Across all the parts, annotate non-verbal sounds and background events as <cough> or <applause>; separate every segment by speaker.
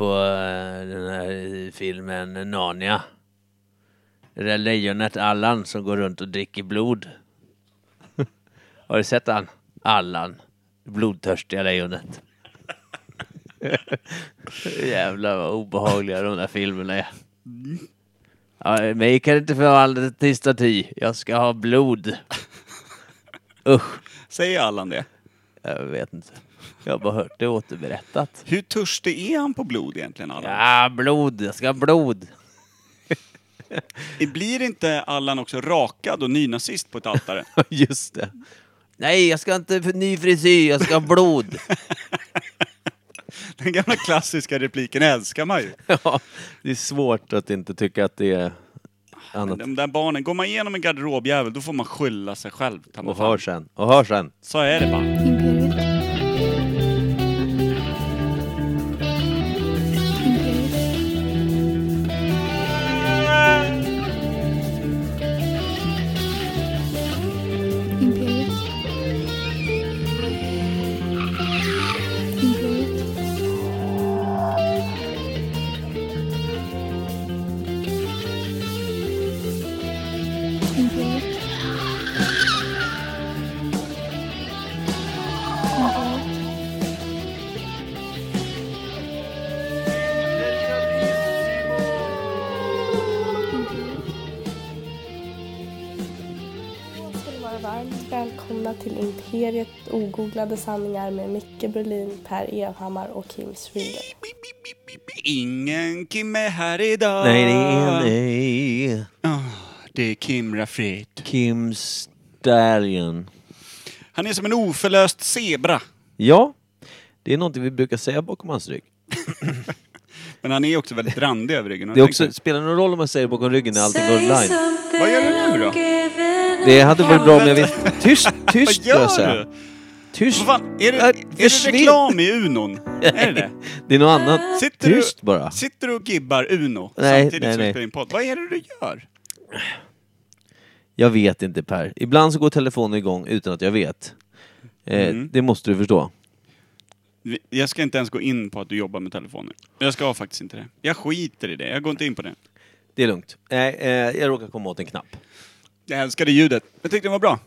Speaker 1: på eh, den här filmen Narnia. Det där lejonet Allan som går runt och dricker blod. Har du sett han? Allan. Blodtörstiga lejonet. <laughs> Jävlar vad obehagliga de där filmerna är. Ja, mig kan inte förvandla till staty. Jag ska ha blod. Usch.
Speaker 2: Säger Allan det?
Speaker 1: Jag vet inte. Jag har bara hört det återberättat.
Speaker 2: Hur törstig är han på blod egentligen, Allan?
Speaker 1: Ja, blod. Jag ska ha blod.
Speaker 2: Det Blir inte Allan också rakad och nynazist på
Speaker 1: <laughs>
Speaker 2: ett altare?
Speaker 1: Just det. Nej, jag ska inte för ny frisyr. Jag ska ha blod.
Speaker 2: Den gamla klassiska repliken älskar man ju.
Speaker 1: <laughs> ja, det är svårt att inte tycka att det är
Speaker 2: Men
Speaker 1: annat.
Speaker 2: De där barnen, går man igenom en garderobjävel då får man skylla sig själv. ta mig
Speaker 1: Och
Speaker 2: fan.
Speaker 1: hör sen. Och hör sen.
Speaker 2: Så är det bara.
Speaker 3: Imperiet. Imperiet. Imperiet. Imperiet. Imperiet.
Speaker 4: ska ni vara varmt välkomna till Imperiet ogooglade sanningar med Micke Berlin, Per Evhammar och Kim Schreeder.
Speaker 2: Ingen Kim är här idag.
Speaker 1: Nej, det är nej.
Speaker 2: Det är Kim Rafrit.
Speaker 1: Kim Stallion.
Speaker 2: Han är som en oförlöst zebra.
Speaker 1: Ja, det är någonting vi brukar säga bakom hans rygg.
Speaker 2: Men han är också väldigt randig över ryggen.
Speaker 1: Det är också, spelar någon roll om man säger bakom ryggen när allting går online.
Speaker 2: Vad gör du nu då?
Speaker 1: Det hade varit bra om jag visste... Tyst,
Speaker 2: <laughs> Vad
Speaker 1: tyst
Speaker 2: gör
Speaker 1: jag säga.
Speaker 2: du?
Speaker 1: Tyst.
Speaker 2: Vad fan, är det,
Speaker 1: Äh,
Speaker 2: är det
Speaker 1: försvinn.
Speaker 2: reklam i
Speaker 1: <laughs>
Speaker 2: Unon? Är det det?
Speaker 1: Det är något annat.
Speaker 2: Sitter du-
Speaker 1: Tyst bara.
Speaker 2: Sitter du och gibbar Uno
Speaker 1: Nej,
Speaker 2: samtidigt
Speaker 1: nej,
Speaker 2: som
Speaker 1: nej.
Speaker 2: du spelar in podd? Vad är det du gör?
Speaker 1: Jag vet inte Per. Ibland så går telefonen igång utan att jag vet. Eh, Det måste du förstå.
Speaker 2: Vi- Jag ska inte ens gå in på att du jobbar med telefoner. Jag ska faktiskt inte det. Jag skiter i det. Jag går inte in på det.
Speaker 1: Det är lugnt. Nej, eh, jag råkar komma åt en knapp.
Speaker 2: Jag älskade ljudet. Jag tyckte det var bra.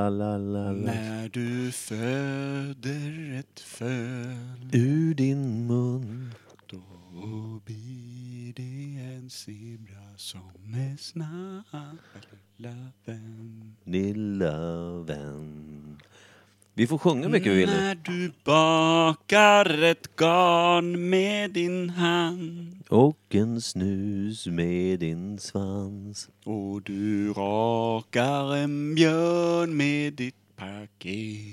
Speaker 2: När du föder ett föl
Speaker 1: Ur din mun.
Speaker 2: då blir det en zebra som är snabb. Lilla vän.
Speaker 1: Lilla vän. Vi får sjunga mycket vi vill nu.
Speaker 2: När du bakar ett garn med din hand
Speaker 1: Och en snus med din svans.
Speaker 2: och du rakar en björn med ditt paket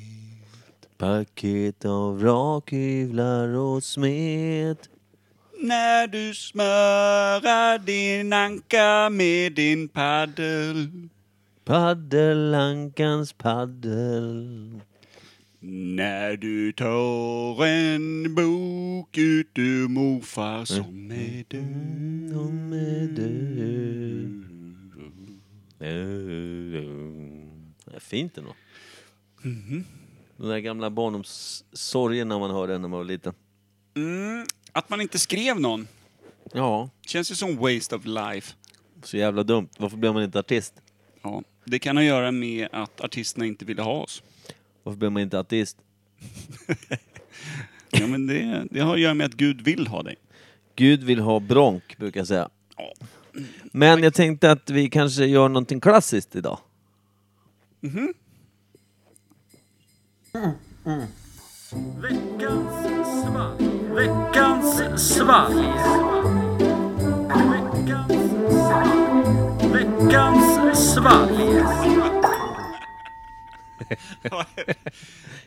Speaker 1: Paket av rakhyvlar och smet.
Speaker 2: När du smörar din anka med din paddel
Speaker 1: Paddelankans paddel.
Speaker 2: När du tar en bok ut ur morfar
Speaker 1: Mm.
Speaker 2: som är död
Speaker 1: Om är du. Det är fint ändå. De där gamla barndomssorgerna man hörde när man var liten.
Speaker 2: Mm, att man inte skrev någon.
Speaker 1: Ja.
Speaker 2: Känns ju som waste of life.
Speaker 1: Så jävla dumt. Varför blev man inte artist?
Speaker 2: Ja, det kan ha att göra med att artisterna inte ville ha oss.
Speaker 1: Varför blev man inte artist?
Speaker 2: Ja, men det, det har att göra med att Gud vill ha dig.
Speaker 1: Gud vill ha bronk, brukar jag säga. Men jag tänkte att vi kanske gör någonting klassiskt idag.
Speaker 2: <laughs>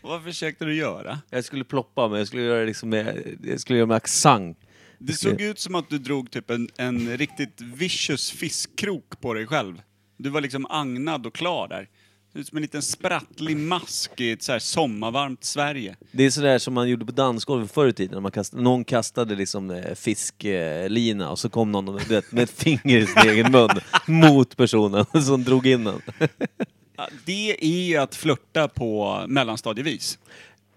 Speaker 2: Vad försökte du göra?
Speaker 1: Jag skulle ploppa, men jag skulle göra det liksom med, jag skulle göra med accent.
Speaker 2: Det såg ut som att du drog typ en, en riktigt vicious fiskkrok på dig själv. Du var liksom agnad och klar där. Det ser ut som en liten sprattlig mask i ett så här sommarvarmt Sverige.
Speaker 1: Det är sådär som man gjorde på dansgolvet förr i tiden. När man kastade, någon kastade liksom eh, fisklina och så kom
Speaker 2: <laughs>
Speaker 1: någon och, du vet, med ett finger i sin egen mun mot personen som drog in den.
Speaker 2: Ja, Det är ju att flörta på mellanstadievis.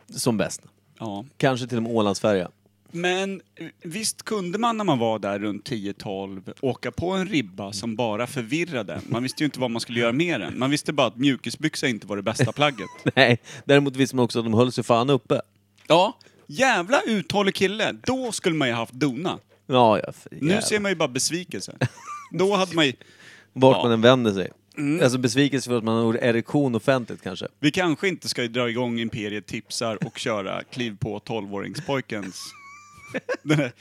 Speaker 1: Som bäst.
Speaker 2: Ja.
Speaker 1: Kanske till och med Ålandsfärja.
Speaker 2: Men eh, visst kunde man när man var där runt 10-12 åka på en ribba som bara förvirrade. Man visste ju inte vad man skulle göra med den. Man visste bara att mjukisbyxa inte var det
Speaker 1: <laughs>
Speaker 2: bästa plagget.
Speaker 1: Nej, däremot visste man också att de höll sig fan uppe.
Speaker 2: Ja, jävla uthållig kille. Då skulle man ju haft dona.
Speaker 1: Ja, ja. för
Speaker 2: Nu
Speaker 1: jävlar.
Speaker 2: ser man ju bara besvikelse. Då hade man ju...
Speaker 1: Vart
Speaker 2: Ja. Mm.
Speaker 1: man än vänder sig. Alltså besvikelse för att man har erektion offentligt kanske.
Speaker 2: Vi kanske inte ska dra igång Imperiet tipsar och köra kliv på
Speaker 1: <laughs>
Speaker 2: 12-åringspojkens... Den där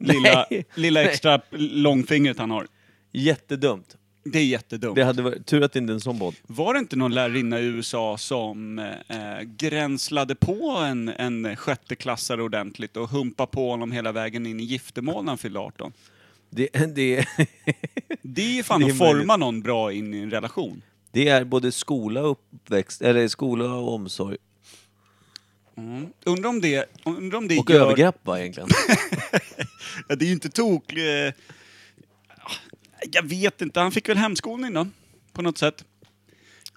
Speaker 2: lilla,
Speaker 1: Nej.
Speaker 2: lilla extra långfingret han har.
Speaker 1: Jättedumt.
Speaker 2: Det är jättedumt.
Speaker 1: Det hade varit tur att det inte är en sån podd.
Speaker 2: Var det inte någon lärarinna i USA som eh, gränslade på en, en sjätteklassare ordentligt och humpa på honom hela vägen in i giftermål när han fyllde 18?
Speaker 1: Det, det,
Speaker 2: Det är ju fan
Speaker 1: Det är
Speaker 2: att forma
Speaker 1: möjligt.
Speaker 2: någon bra in i en relation.
Speaker 1: det är både skola och uppväxt, eller skola och omsorg.
Speaker 2: Undrar om det, undrar om det
Speaker 1: Och
Speaker 2: gör...
Speaker 1: övergrepp va
Speaker 2: <laughs>
Speaker 1: egentligen.
Speaker 2: Ja, det är ju inte tok... Eh, ah, jag vet inte, han fick väl hemskolning då? På något sätt.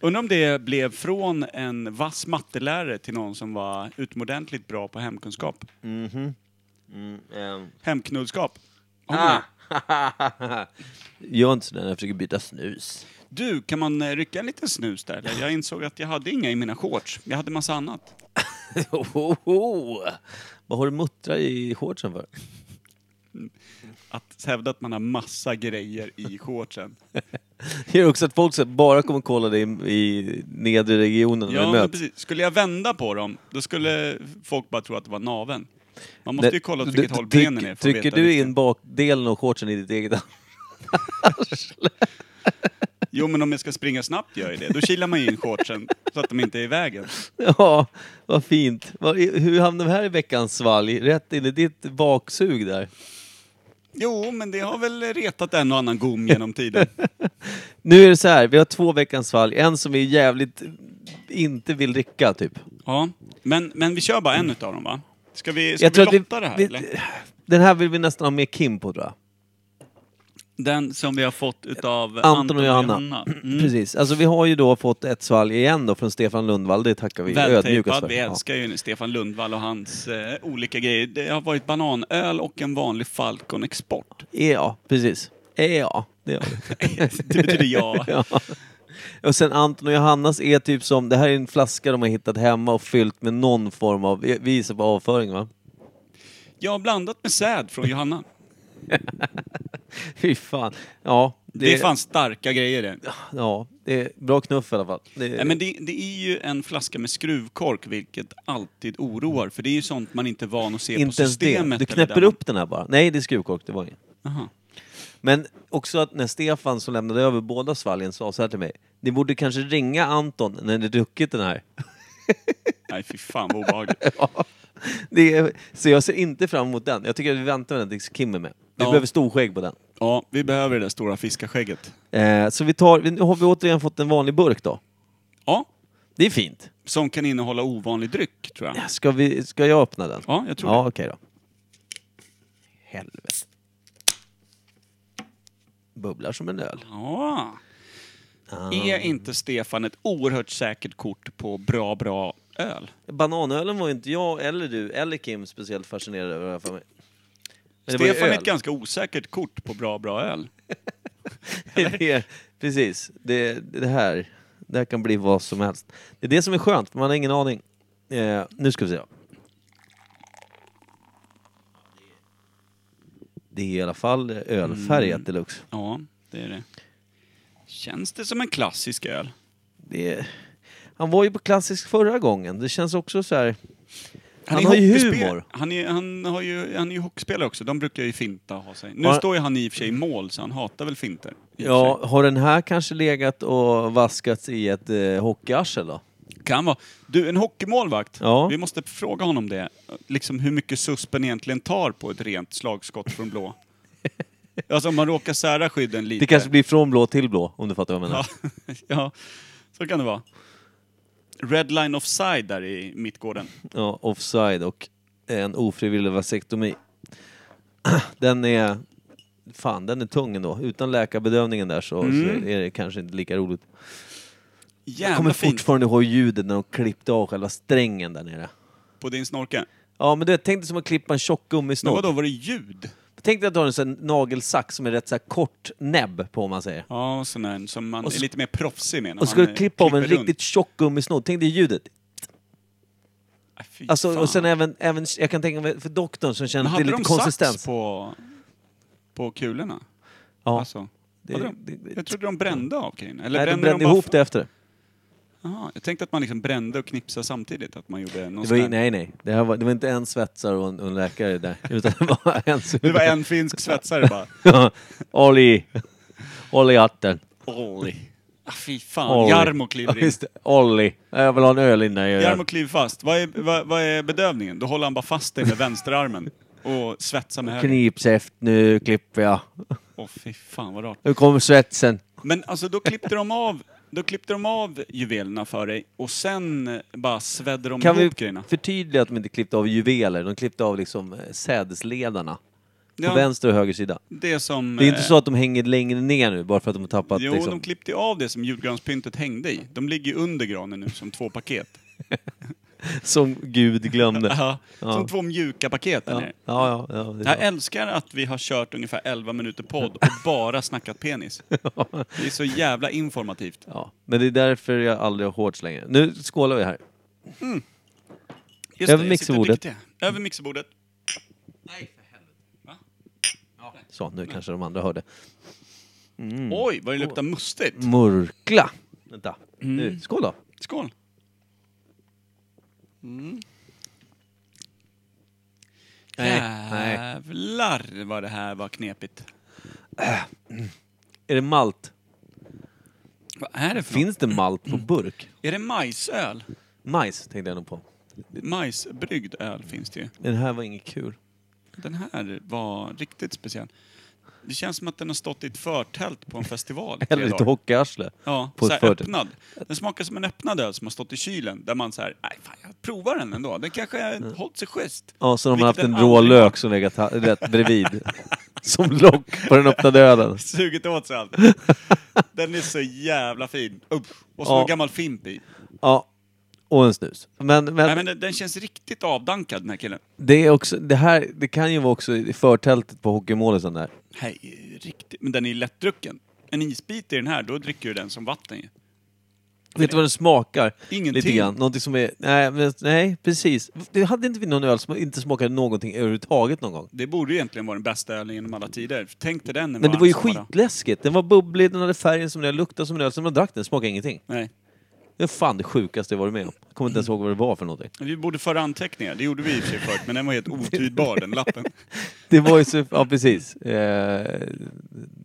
Speaker 2: Undrar om det blev från en vass mattelärare till någon som var utomordentligt bra på hemkunskap.
Speaker 1: Ehm,
Speaker 2: Hemknullskap. Har man
Speaker 1: Ah.
Speaker 2: det?
Speaker 1: Gör inte sådär när jag försöker byta
Speaker 2: <laughs>
Speaker 1: snus.
Speaker 2: Du, kan man eh, rycka en liten snus där? eller? Jag insåg att jag hade inga i mina shorts. Jag hade massa annat.
Speaker 1: Ohoho. Vad har du muttrar i shortsen för? <laughs>
Speaker 2: Att hävda att man har massa grejer
Speaker 1: <laughs>
Speaker 2: i shortsen.
Speaker 1: Det är också att folk så bara kommer kolla dig i, i nedre regionen när
Speaker 2: Ja,
Speaker 1: vi
Speaker 2: men
Speaker 1: möts.
Speaker 2: precis. Skulle jag vända på dem, då skulle folk bara tro att det var naven. Man måste
Speaker 1: Det-
Speaker 2: ju kolla åt
Speaker 1: du-
Speaker 2: vilket
Speaker 1: du-
Speaker 2: håll
Speaker 1: tryck-
Speaker 2: benen är för att
Speaker 1: Trycker
Speaker 2: veta
Speaker 1: du
Speaker 2: vilket.
Speaker 1: in bakdelen av shortsen i ditt eget
Speaker 2: Jo, men om jag ska springa snabbt gör jag det. Då kilar man ju in shortsen så att de inte är i vägen.
Speaker 1: <laughs> Ja, vad fint. Vad- Hur hamnade vi här i veckans svalg? Rätt in i ditt baksug där.
Speaker 2: Jo, men det har väl retat en och annan gom genom tiden.
Speaker 1: Nu är det så här, vi har två veckans svalg. En som vi jävligt inte vill dricka, typ.
Speaker 2: Ja, men, men vi kör bara en utav dem, va? Ska vi, ska
Speaker 1: Jag
Speaker 2: vi
Speaker 1: tror att vi-
Speaker 2: lotta det här,
Speaker 1: vi-
Speaker 2: eller?
Speaker 1: Den här vill vi nästan ha med Kim på, tror jag.
Speaker 2: Den som vi har fått utav
Speaker 1: Anton och Johanna.
Speaker 2: Mm.
Speaker 1: Precis. Alltså vi har ju då fått ett svalg igen då från Stefan Lundvall. Det tackar vi ödmjukast
Speaker 2: Vältejpad,
Speaker 1: för.
Speaker 2: vi
Speaker 1: Ja.
Speaker 2: älskar ju Stefan Lundvall och hans eh, olika grejer. Det har varit bananöl och en vanlig Falcon Export.
Speaker 1: <laughs> Ja, E precis. Ja, det gör vi.
Speaker 2: <laughs> Det betyder ja.
Speaker 1: <laughs> Ja. Och sen Anton och Johannas är typ som, det här är en flaska de har hittat hemma och fyllt med någon form av, vi vi gissar på avföring va?
Speaker 2: Jag har blandat med säd från Johanna.
Speaker 1: Fy fan. Ja,
Speaker 2: Det är fan starka grejer det.
Speaker 1: ja, det är bra knuff i alla fall. Det,
Speaker 2: Nej, men det, det är ju en flaska med skruvkork, vilket alltid oroar. För det är ju sånt man inte är van att se på
Speaker 1: inte ens det.
Speaker 2: systemet.
Speaker 1: Du knäpper upp den här bara. Nej, det är skruvkork, det var inget.
Speaker 2: Aha.
Speaker 1: Men också att när Stefan som lämnade över båda svalgen sa så här till mig. Ni borde kanske ringa Anton när ni druckit den här. <laughs>
Speaker 2: Nej, fy fan vad obehagligt.
Speaker 1: Det är, så jag ser inte fram emot den. Jag tycker att vi väntar med den tills Kim är med. Vi
Speaker 2: Ja.
Speaker 1: behöver storskägg på den.
Speaker 2: Ja, vi behöver det där stora fiskarskägget.
Speaker 1: Eh, så vi tar, nu har vi återigen fått en vanlig burk då.
Speaker 2: Ja,
Speaker 1: Det är fint.
Speaker 2: som kan innehålla ovanlig dryck, tror jag.
Speaker 1: Ska, vi, ska jag öppna den?
Speaker 2: Ja, jag tror
Speaker 1: Ja, okej då. Helvete. Bubblar som en öl.
Speaker 2: Ja. Är inte Stefan ett oerhört säkert kort på bra, bra öl?
Speaker 1: Bananölen var ju inte jag eller du eller Kim speciellt fascinerad över har jag för mig. Men det var ju
Speaker 2: Stefan är
Speaker 1: öl.
Speaker 2: ett ganska osäkert kort på bra, bra öl.
Speaker 1: <laughs> Det är- Precis. Det, det, här, det här kan bli vad som helst. Det är det som är skönt, för man har ingen aning. Eh, nu ska vi se. Det är i alla fall ölfärgat
Speaker 2: Mm.
Speaker 1: deluxe.
Speaker 2: Ja, det är det. Känns det som en klassisk öl?
Speaker 1: Det är... Han var ju på klassisk förra gången. Det känns också så här... Han,
Speaker 2: är
Speaker 1: har ju
Speaker 2: hockeyspel-
Speaker 1: humor.
Speaker 2: Han är, han, har ju, han är ju hockeyspelare också. De brukar ju finta och ha sig. Nu
Speaker 1: Ja.
Speaker 2: står ju han i och för sig i mål, så han hatar väl finter. i och för
Speaker 1: Ja, har den här kanske legat och vaskats i ett eh, hockeyarsel då?
Speaker 2: sig. Kan vara. Du, en hockeymålvakt.
Speaker 1: Ja.
Speaker 2: Vi måste fråga honom det. Liksom hur mycket suspen egentligen tar på ett rent slagskott
Speaker 1: <laughs>
Speaker 2: från blå. alltså om man råkar sära skydden lite.
Speaker 1: Det kanske blir från blå till blå, om du fattar vad jag menar.
Speaker 2: Ja, <laughs> ja så kan det vara. Red line offside där i mittgården.
Speaker 1: ja, offside och en ofrivillig vasektomi. <clears throat> Den är...
Speaker 2: Mm.
Speaker 1: Fan, den är tung ändå. Utan läkarbedövningen där så, så är det kanske inte lika roligt. Jag
Speaker 2: jävla
Speaker 1: kommer
Speaker 2: fint
Speaker 1: fortfarande ihåg ljudet när de klippte av själva strängen där nere.
Speaker 2: på din snorkel.
Speaker 1: Ja, men du vet, tänk dig som att klippa en tjock
Speaker 2: Men
Speaker 1: gummisnodd.
Speaker 2: vadå, var det ljud?
Speaker 1: Tänk dig att du har en sån här nagelsax som är rätt så här kort näbb på, om man säger.
Speaker 2: Ja, sån där som man
Speaker 1: Och så-
Speaker 2: är lite mer proffsig med. när
Speaker 1: Och ska
Speaker 2: man,
Speaker 1: du
Speaker 2: eh,
Speaker 1: klippa av en
Speaker 2: klipper runt.
Speaker 1: riktigt tjock gummisnodd, tänk dig ljudet.
Speaker 2: Aj, fy
Speaker 1: Alltså,
Speaker 2: fan.
Speaker 1: och sen även, även, jag kan tänka mig för doktorn som
Speaker 2: Men
Speaker 1: känner
Speaker 2: hade
Speaker 1: till lite
Speaker 2: de
Speaker 1: konsistens.
Speaker 2: sax på, på kulorna?
Speaker 1: Ja,
Speaker 2: Alltså,
Speaker 1: det,
Speaker 2: hade
Speaker 1: det,
Speaker 2: de?
Speaker 1: det,
Speaker 2: jag trodde de brände av grejerna. Eller
Speaker 1: nej, de
Speaker 2: brände
Speaker 1: brände
Speaker 2: bara
Speaker 1: ihop
Speaker 2: f-
Speaker 1: det efter det.
Speaker 2: Jaha, jag tänkte att man liksom brände och knipsade samtidigt. Att man gjorde någon
Speaker 1: det var,
Speaker 2: sån här-
Speaker 1: ju- nej, nej. Det, här var, det var inte en svetsare och en, och en läkare där. <laughs> Utan det var en...
Speaker 2: Det var en finsk svetsare
Speaker 1: <laughs>
Speaker 2: bara.
Speaker 1: Håll i... Håll i hatten.
Speaker 2: Olli. Ah, fy fan,
Speaker 1: Olli.
Speaker 2: Jarmo kliver
Speaker 1: Ja,
Speaker 2: in.
Speaker 1: just det. Olli. Jag vill ha en öl innan jag gör
Speaker 2: Jarmo
Speaker 1: det.
Speaker 2: kliver fast. Vad är, vad, vad är bedövningen? Då håller han bara fast dig med vänsterarmen och svetsar med höger.
Speaker 1: Knipsäft, nu klipper jag.
Speaker 2: Åh fy fan vad rart.
Speaker 1: Nu kommer svetsen.
Speaker 2: Men alltså då klippte de av, då klippte de av juvelerna för dig och sen eh, bara svedde de
Speaker 1: Kan vi
Speaker 2: ihop grejerna.
Speaker 1: förtydliga att de inte klippte av juveler? De klippte av liksom eh, sädesledarna. På
Speaker 2: Ja,
Speaker 1: vänster och höger sida.
Speaker 2: det som...
Speaker 1: Det är inte
Speaker 2: eh,
Speaker 1: så att de hänger längre ner nu bara för att de har tappat
Speaker 2: Jo,
Speaker 1: liksom...
Speaker 2: de klippte ju av det som julgranspyntet hängde i. De ligger ju under granen nu som två paket.
Speaker 1: <laughs> Som Gud glömde.
Speaker 2: Ja,
Speaker 1: <laughs> Ja.
Speaker 2: som två mjuka paket. där
Speaker 1: Ja,
Speaker 2: nere.
Speaker 1: ja, ja. det
Speaker 2: Jag
Speaker 1: är
Speaker 2: älskar att vi har kört ungefär 11 minuter
Speaker 1: <laughs>
Speaker 2: podd och bara snackat penis. Det är så jävla informativt.
Speaker 1: ja. Men det är därför jag aldrig har shorts längre. Nu skålar vi här.
Speaker 2: Just
Speaker 1: Över
Speaker 2: det, jag sitter och
Speaker 1: mixerbordet.
Speaker 2: dricker te. Över mixerbordet.
Speaker 1: Så, nu kanske de andra hörde. Mm.
Speaker 2: Oj, vad det luktar mustigt.
Speaker 1: Murkla! Vänta.
Speaker 2: Mm.
Speaker 1: Nu, skål då.
Speaker 2: Skål.
Speaker 1: Nej, nej.
Speaker 2: Jävlar vad det här var knepigt.
Speaker 1: Är det malt?
Speaker 2: Vad är det för något?
Speaker 1: Finns det malt på
Speaker 2: Mm.
Speaker 1: burk?
Speaker 2: Är det majsöl?
Speaker 1: Majs tänkte jag nog på.
Speaker 2: Majsbryggd öl finns det ju.
Speaker 1: Men det här var inget kul.
Speaker 2: Den här var riktigt speciell. Det känns som att den har stått i ett förtält på
Speaker 1: <laughs>
Speaker 2: en festival i tre
Speaker 1: Eller lite
Speaker 2: dagar.
Speaker 1: hockeyarsle.
Speaker 2: Ja,
Speaker 1: på
Speaker 2: så
Speaker 1: ett
Speaker 2: här
Speaker 1: förtält.
Speaker 2: öppnad. Den smakar som en öppnad öl som har stått i kylen. Där man så här, nej fan jag provar den ändå. Den kanske har hållit sig schysst.
Speaker 1: Ja, så de har haft
Speaker 2: Vilket
Speaker 1: en
Speaker 2: den
Speaker 1: rå
Speaker 2: aldrig
Speaker 1: lök som legat ha- rätt bredvid. som lock på den öppna döden.
Speaker 2: <laughs> Sugit
Speaker 1: <laughs>
Speaker 2: åt sig allt. Den är så jävla fin. Upp. Och så
Speaker 1: Ja.
Speaker 2: en gammal fimp i.
Speaker 1: Ja. Och en snus. Men, men,
Speaker 2: Nej men den, den känns riktigt avdankad den här killen.
Speaker 1: det är också, det här, det kan ju vara också i förtältet på hockeymålisen där.
Speaker 2: Nej, riktigt. Men den är ju lättdrucken. En isbit i den här, då dricker du den som vatten ju.
Speaker 1: Vet du vad den smakar?
Speaker 2: Ingenting.
Speaker 1: Lite grann. Någonting som är, nej, men, nej precis. Det hade inte vi någon öl som inte smakade någonting överhuvudtaget någon gång.
Speaker 2: Det borde ju egentligen vara den bästa ölen genom alla tider. Tänk dig den. när
Speaker 1: Men det
Speaker 2: man
Speaker 1: var ju
Speaker 2: som bara-
Speaker 1: skitläskigt. Den var bubblig, den hade färgen som den, luktade som den, sen när man drack den smakade ingenting.
Speaker 2: Nej.
Speaker 1: Det är fan det sjukaste jag varit med om. Jag kommer inte ens ihåg vad det var för någonting.
Speaker 2: Vi borde föra anteckningar. Det gjorde vi i och för sig förut, men den
Speaker 1: <laughs>
Speaker 2: var helt otydbar den lappen.
Speaker 1: Det var ju så, ja precis. Eh,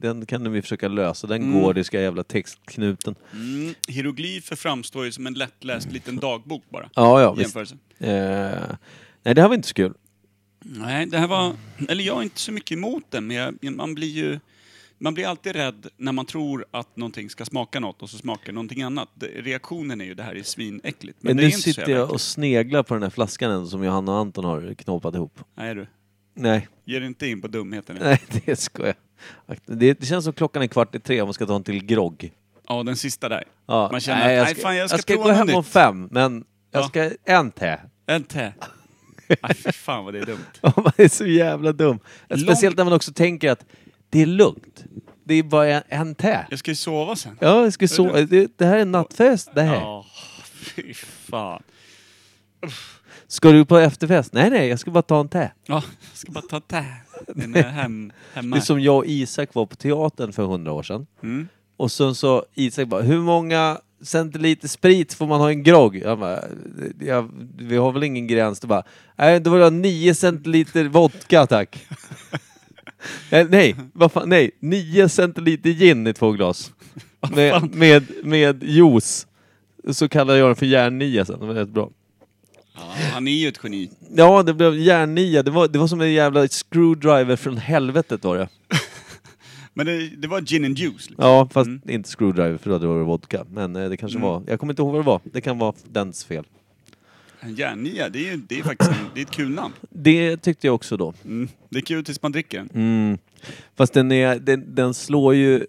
Speaker 1: den kan de ju försöka lösa, den gordiska jävla textknuten.
Speaker 2: Mm. Hieroglyfer framstår ju som en lättläst liten dagbok bara.
Speaker 1: Ja, ja
Speaker 2: i
Speaker 1: visst.
Speaker 2: jämförelse.
Speaker 1: Eh, nej, det här var inte så kul.
Speaker 2: Nej, det här var... Eller jag är inte så mycket emot den, men jag, man blir ju... Man blir alltid rädd när man tror att någonting ska smaka något och så smakar det någonting annat. Det- Reaktionen är ju det här är svinäckligt. Men
Speaker 1: Men
Speaker 2: det är
Speaker 1: nu
Speaker 2: inte så
Speaker 1: sitter
Speaker 2: jävla
Speaker 1: jag
Speaker 2: äckligt.
Speaker 1: och sneglar på den här flaskan ändå, som Johanna och Anton har knåpat ihop.
Speaker 2: Nej du,
Speaker 1: Nej,
Speaker 2: ge dig inte in på dumheten nu.
Speaker 1: <laughs> nej det ska jag. Det, det känns som klockan är kvart i tre om man ska ta en till grogg.
Speaker 2: Ja, den sista där.
Speaker 1: Ja,
Speaker 2: Man känner
Speaker 1: nej,
Speaker 2: att,
Speaker 1: jag
Speaker 2: nej
Speaker 1: ska,
Speaker 2: fan jag ska,
Speaker 1: jag ska
Speaker 2: prova
Speaker 1: gå
Speaker 2: något
Speaker 1: hem
Speaker 2: nytt.
Speaker 1: om fem, men jag
Speaker 2: Ja.
Speaker 1: ska en <laughs> te.
Speaker 2: En te. Nej, fy fan vad det är dumt.
Speaker 1: Ja, man är så jävla dum. Speciellt när man också tänker att det är lugnt. Det är bara en, en te.
Speaker 2: Jag ska ju sova sen.
Speaker 1: Ja, jag ska sova. Det, det här är en nattfest. Det här.
Speaker 2: Ja, fy fan.
Speaker 1: Ska du på efterfest? Nej, nej, jag ska bara ta en te.
Speaker 2: Ja, jag ska bara ta te. Den är hem, hemma.
Speaker 1: Det är som jag och Isak var på teatern för hundra år sedan. Och sen så Isak bara, hur många centiliter sprit får man ha i en grogg? Jag bara, ja, vi har väl ingen gräns. Då bara, nej, då vill jag ha nio centiliter vodka tack. Eh, nej, vad fan, nej, nio centiliter gin i två glas. Med, med, med juice. Så kallar jag den för järnnia sen, det var rätt bra.
Speaker 2: Ja, han är ju ett geni.
Speaker 1: Ja, det blev järnnia. Det var, det var som en jävla screwdriver från helvetet var det.
Speaker 2: Men det, det var gin and juice. Liksom.
Speaker 1: Ja, fast inte screwdriver för då hade det varit vodka. Men eh, det kanske
Speaker 2: Mm.
Speaker 1: var, jag kommer inte ihåg vad det var. Det kan vara dens fel.
Speaker 2: En järnia, det är ju det är faktiskt en, det är ett kul namn.
Speaker 1: Det tyckte jag också då.
Speaker 2: Mm. Det är kul tills man dricker den.
Speaker 1: Fast den, är, den, den slår ju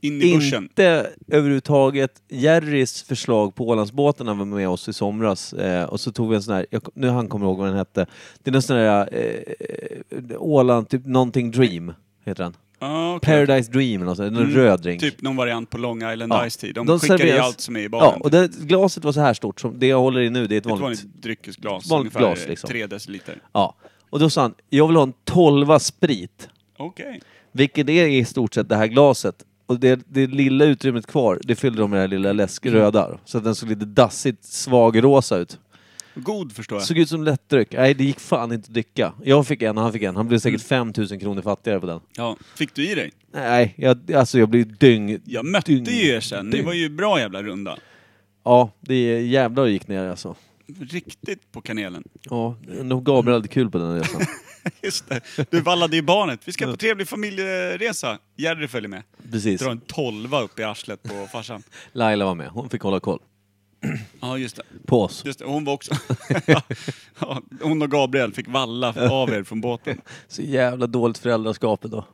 Speaker 2: In i börsen.
Speaker 1: inte överhuvudtaget Jerrys förslag på Ålandsbåtarna var med oss i somras eh, och så tog vi en sån här, jag, nu han kommer ihåg vad den hette, det är någon sån här eh, Åland, typ någonting Dream heter den.
Speaker 2: Ah, okej.
Speaker 1: Paradise Dream eller något sånt, en röd drink.
Speaker 2: Typ någon variant på Long Island Ice Tea. De,
Speaker 1: de
Speaker 2: skickar i
Speaker 1: serveras-
Speaker 2: allt som är i baren.
Speaker 1: Ja, och det, glaset var så här stort, som det jag håller i nu det är ett
Speaker 2: Ett
Speaker 1: vanligt.
Speaker 2: vanligt dryckesglas,
Speaker 1: vanligt
Speaker 2: ungefär
Speaker 1: glas, liksom.
Speaker 2: 3 deciliter.
Speaker 1: Ja. Och då sa han, jag vill ha en tolva sprit.
Speaker 2: Okej.
Speaker 1: Vilket är i stort sett det här glaset. Och det, det lilla utrymmet kvar, det fyllde de med det här lilla läskröda. då. Så att den såg lite dassigt svagrosa ut.
Speaker 2: God förstår jag.
Speaker 1: Såg ut som lättdryck. Nej, det gick fan inte att dricka. Jag fick en och han fick en. Han blev säkert 5000 kronor fattigare på den.
Speaker 2: Ja. Fick du i dig?
Speaker 1: Nej, jag, alltså jag blev dyng...
Speaker 2: Jag mötte
Speaker 1: dyng-
Speaker 2: ju er sen. Ni
Speaker 1: dyng.
Speaker 2: var ju bra jävla runda.
Speaker 1: Ja, det är jävlar det gick ner alltså.
Speaker 2: Riktigt på kanelen.
Speaker 1: Ja, nog Gabriel hade kul på den resan.
Speaker 2: Just det. Du vallade i barnet. Vi ska på trevlig familjeresa. Jerry följer med.
Speaker 1: Precis.
Speaker 2: Drar en tolva upp i arslet på farsan.
Speaker 1: Laila var med. Hon fick hålla koll
Speaker 2: Ja, just det.
Speaker 1: på oss.
Speaker 2: Just det. Hon var också... <laughs> ja, hon och Gabriel fick valla av er från båten.
Speaker 1: Så jävla dåligt föräldraskap då.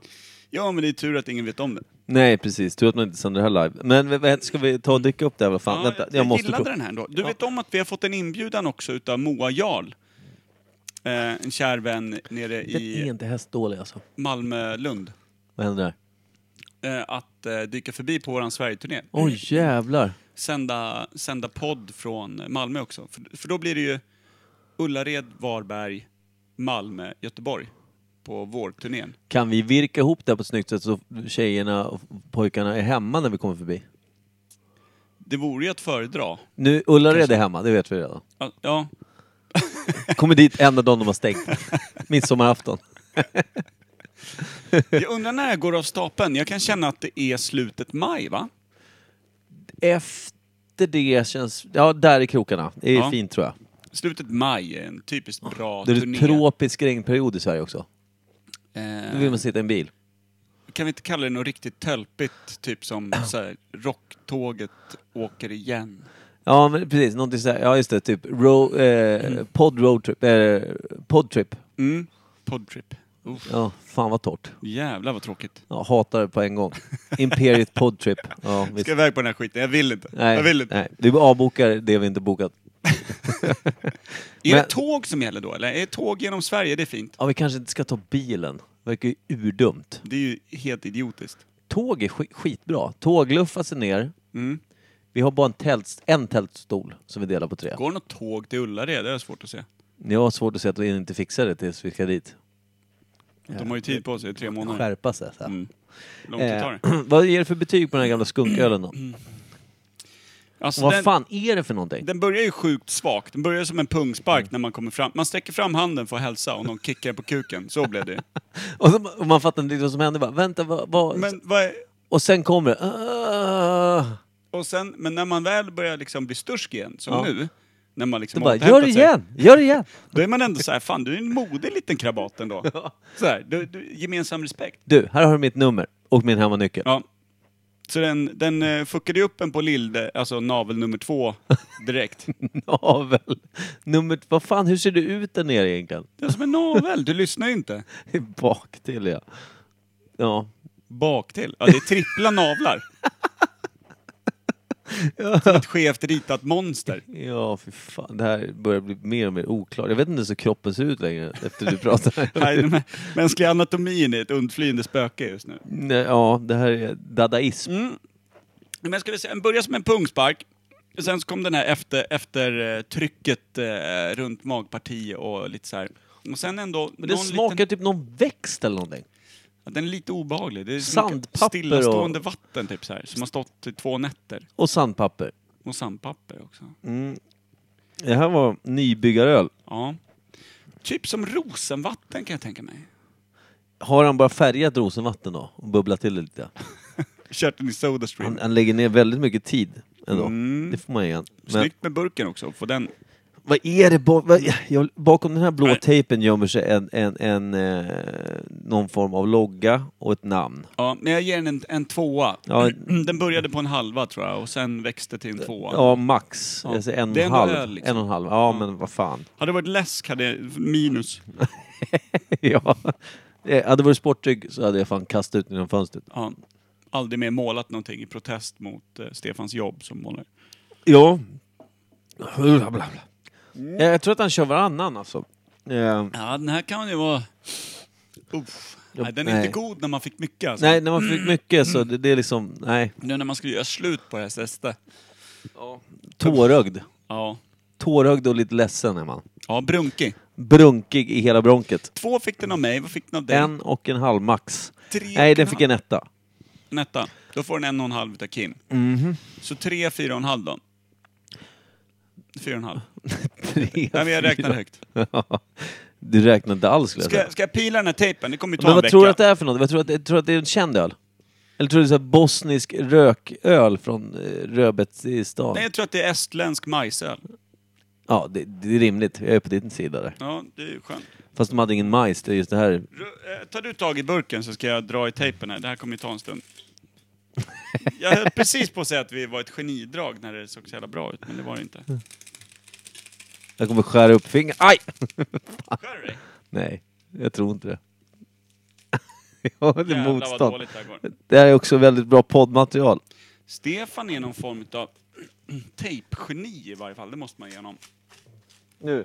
Speaker 2: Ja, men det är tur att ingen vet om det.
Speaker 1: Nej, precis. Tur att man inte sänder det här live. Men v- v- ska vi ta och dyka upp det här? Vad fan? Vänta, jag, måste
Speaker 2: gillade
Speaker 1: prova.
Speaker 2: den här ändå. Du vet om att vi har fått en inbjudan också utav Moa Jarl. Eh, en kär vän nere
Speaker 1: Den är
Speaker 2: i
Speaker 1: inte hästdålig alltså.
Speaker 2: Malmö-Lund.
Speaker 1: Vad händer där?
Speaker 2: Eh, att eh, dyka förbi på våran Sverigeturné.
Speaker 1: Oj jävlar!
Speaker 2: Sända, sända podd från Malmö också. För, för då blir det ju Ullared, Varberg, Malmö, Göteborg. På vårturnén.
Speaker 1: Kan vi virka ihop det här på ett snyggt sätt så tjejerna och pojkarna är hemma när vi kommer förbi?
Speaker 2: Det vore ju att föredra.
Speaker 1: Nu, Ullared är hemma, det vet vi redan.
Speaker 2: Ja, Ja,
Speaker 1: Kommer dit enda dagen de har
Speaker 2: <laughs>
Speaker 1: stängt. Midsommarafton.
Speaker 2: jag undrar när jag går av stapeln. Jag kan känna att det är slutet maj, va?
Speaker 1: Efter det känns... Ja, där är krokarna. Det är
Speaker 2: Ja.
Speaker 1: fint tror jag.
Speaker 2: Slutet maj är en typiskt bra
Speaker 1: Ah, Det är
Speaker 2: turné.
Speaker 1: tropisk regnperiod i Sverige också.
Speaker 2: Eh,
Speaker 1: Då vill man sitta i en bil.
Speaker 2: Kan vi inte kalla det något riktigt tölpigt?
Speaker 1: <clears throat>
Speaker 2: Typ som så här, rocktåget åker igen.
Speaker 1: Ja, men precis. Någonting så här, ja just det, typ ro, eh, pod roadtrip, eh, podtrip.
Speaker 2: Mm. Podtrip. Uff,
Speaker 1: Ja, fan vad torrt.
Speaker 2: jävlar vad tråkigt.
Speaker 1: Ja, hatar det på en gång. Imperiet podtrip.
Speaker 2: <laughs>
Speaker 1: Ja, visst.
Speaker 2: Ska iväg på den här skiten, jag vill inte. jag vill inte.
Speaker 1: nej, vi avbokar det vi inte bokat.
Speaker 2: Är
Speaker 1: Men-
Speaker 2: det tåg som gäller då eller? Är tåg genom Sverige, det är fint?
Speaker 1: Ja, vi kanske inte ska ta bilen. Verkar ju urdumt.
Speaker 2: Det är ju helt idiotiskt.
Speaker 1: Tåg är sk- skitbra. Tåg luffar sig ner.
Speaker 2: Mm.
Speaker 1: Vi har bara en, tält, en tältstol som vi delar på tre.
Speaker 2: Går det något tåg till Ullared? Det är svårt att se.
Speaker 1: Jag har svårt att se att vi inte fixar det tills vi ska dit.
Speaker 2: De har ju tid på sig, tre månader.
Speaker 1: Skärpa sig. Så här.
Speaker 2: Mm. Långt det tar.
Speaker 1: Eh, <clears throat> vad ger det för betyg på den här gamla skunkölen då?
Speaker 2: Alltså,
Speaker 1: Vad
Speaker 2: den-
Speaker 1: fan är det för någonting?
Speaker 2: Den börjar ju sjukt svagt. Den börjar som en pungspark när man kommer fram. Man sträcker fram handen för att hälsa och någon kickar på kuken. Så blev det.
Speaker 1: Och, så, och man fattar inte riktigt vad som hände. Bara, vänta, vad, vad?
Speaker 2: Men vad är...
Speaker 1: Och sen kommer det. "Ah."
Speaker 2: Och sen, men när man väl börjar liksom bli stursk igen, som
Speaker 1: Ja.
Speaker 2: nu, när man liksom
Speaker 1: Då bara,
Speaker 2: återhämtat
Speaker 1: gör det
Speaker 2: sig,
Speaker 1: igen! Gör det igen!
Speaker 2: Då är man ändå så här, fan du är en modig liten
Speaker 1: <laughs>
Speaker 2: krabat ändå. Så här, du, du, gemensam respekt.
Speaker 1: Du, här har du mitt nummer och min hemmanyckel. <laughs>
Speaker 2: Ja. Så den, den eh, fuckade ju upp en på lill, alltså navel
Speaker 1: <laughs>
Speaker 2: nummer två, direkt.
Speaker 1: Navel. Nummer... Vad fan, hur ser du ut där nere egentligen? <laughs>
Speaker 2: Det är som en navel, du lyssnar ju inte.
Speaker 1: Bak till ja. Ja.
Speaker 2: Bak till. Ja, det är trippla navlar. Som ett skevt ritat monster.
Speaker 1: Ja, för fan. Det här börjar bli mer och mer oklart. Jag vet inte ens hur kroppen ser ut längre efter du pratar.
Speaker 2: <laughs> Nej, den här mänskliga anatomin är ett undflyende spöke just nu.
Speaker 1: <laughs> Nej, ja, det här är dadaism.
Speaker 2: Mm, Men jag skulle säga, den börjar som en pungspark. Sen så kom den här efter, efter eh, trycket eh, runt magparti och lite så här. Och sen ändå...
Speaker 1: Men det
Speaker 2: någon
Speaker 1: smakar
Speaker 2: Liten,
Speaker 1: typ någon växt eller någonting.
Speaker 2: ja, den är lite obehaglig. Det är
Speaker 1: Sandpapper och-
Speaker 2: Sandpapper stillastående vatten typ så här. Som har stått i två nätter.
Speaker 1: Och sandpapper.
Speaker 2: Och sandpapper också.
Speaker 1: Det här var nybyggaröl.
Speaker 2: Ja. Typ som rosenvatten kan jag tänka mig.
Speaker 1: Har han bara färgat rosenvatten då? Och bubblat till det lite?
Speaker 2: Kört den i Soda Stream.
Speaker 1: Han, han lägger ner väldigt mycket tid ändå. Det får man igen. Men
Speaker 2: Mm. Snyggt med burken också. Få den...
Speaker 1: vad är det ba- vad, jag, Bakom den här blå
Speaker 2: Nej.
Speaker 1: tejpen gömmer sig en, en, en, eh, någon form av logga och ett namn.
Speaker 2: Ja, men jag ger den en, en tvåa.
Speaker 1: Ja.
Speaker 2: <clears throat> Den började på en halva tror jag och sen växte till en tvåa.
Speaker 1: Ja, max.
Speaker 2: Ja.
Speaker 1: Alltså en och
Speaker 2: Det är
Speaker 1: en
Speaker 2: ändå
Speaker 1: halv.
Speaker 2: öl, liksom.
Speaker 1: En och en halv. Ja, men vad fan. <laughs>
Speaker 2: Hade det varit läsk hade jag minus.
Speaker 1: ja. Eh, Hade det varit sportdryck så hade jag fan kastat ut den genom fönstret.
Speaker 2: Ja. aldrig mer målat någonting i protest mot eh, Stefans jobb som målare.
Speaker 1: Ja. Bla, bla, bla. Eh, Jag tror att han kör varannan alltså. Eh,
Speaker 2: Ja, den här kan ju vara... Uff. Nej, den är
Speaker 1: Nej.
Speaker 2: inte god när man fick mycket alltså.
Speaker 1: nej, när man fick mycket så det, det är liksom, nej.
Speaker 2: Nu när man skulle göra slut på det här sista.
Speaker 1: Tårögd.
Speaker 2: Ja.
Speaker 1: Tårögd och lite ledsen är man.
Speaker 2: Ja, brunkig.
Speaker 1: Brunkig i hela bronket.
Speaker 2: Två fick den av mig, vad fick den av dig?
Speaker 1: En och en halv max.
Speaker 2: Tre
Speaker 1: Nej,
Speaker 2: och
Speaker 1: den
Speaker 2: en
Speaker 1: fick en
Speaker 2: halv.
Speaker 1: etta.
Speaker 2: En etta. Då får den en och en halv utav Kim.
Speaker 1: Mhm.
Speaker 2: Så tre, fyra och en halv då. Fyra och en halv.
Speaker 1: Tre,
Speaker 2: Nej, men jag räknar
Speaker 1: fyra.
Speaker 2: högt.
Speaker 1: <laughs> Du räknade inte alls skulle jag
Speaker 2: Ska,
Speaker 1: säga.
Speaker 2: jag- ska jag pila den här tejpen? Det kommer ju ta
Speaker 1: Men
Speaker 2: en
Speaker 1: vad
Speaker 2: vecka.
Speaker 1: tror du att det är för något? Vad tror du att, det- tror du att det är en känd öl? Eller tror du det är så här bosnisk rököl från eh, Röbetsistan?
Speaker 2: Nej, jag tror att det är estländsk majsöl.
Speaker 1: Ja, det, det är rimligt. Jag är på din sida där.
Speaker 2: Ja, det är ju skönt.
Speaker 1: Fast de hade ingen majs, det är just det här.
Speaker 2: Ru- eh, Tar du tag i burken så ska jag dra i tejpen här. Det här kommer ju ta
Speaker 1: <laughs>
Speaker 2: en stund. Jag höll precis på att säga att vi var ett genidrag när det såg så jävla bra ut, men det var det inte.
Speaker 1: Jag kommer skära upp fingret. Aj!
Speaker 2: Skär du dig?
Speaker 1: Nej, jag tror inte det. <laughs> Jag har lite
Speaker 2: Jävlar vad
Speaker 1: motstånd.
Speaker 2: dåligt det här går.
Speaker 1: Det här är också väldigt bra poddmaterial.
Speaker 2: Stefan är någon form av <clears throat> tejpgeni i varje fall, det måste man ge honom.
Speaker 1: Nu.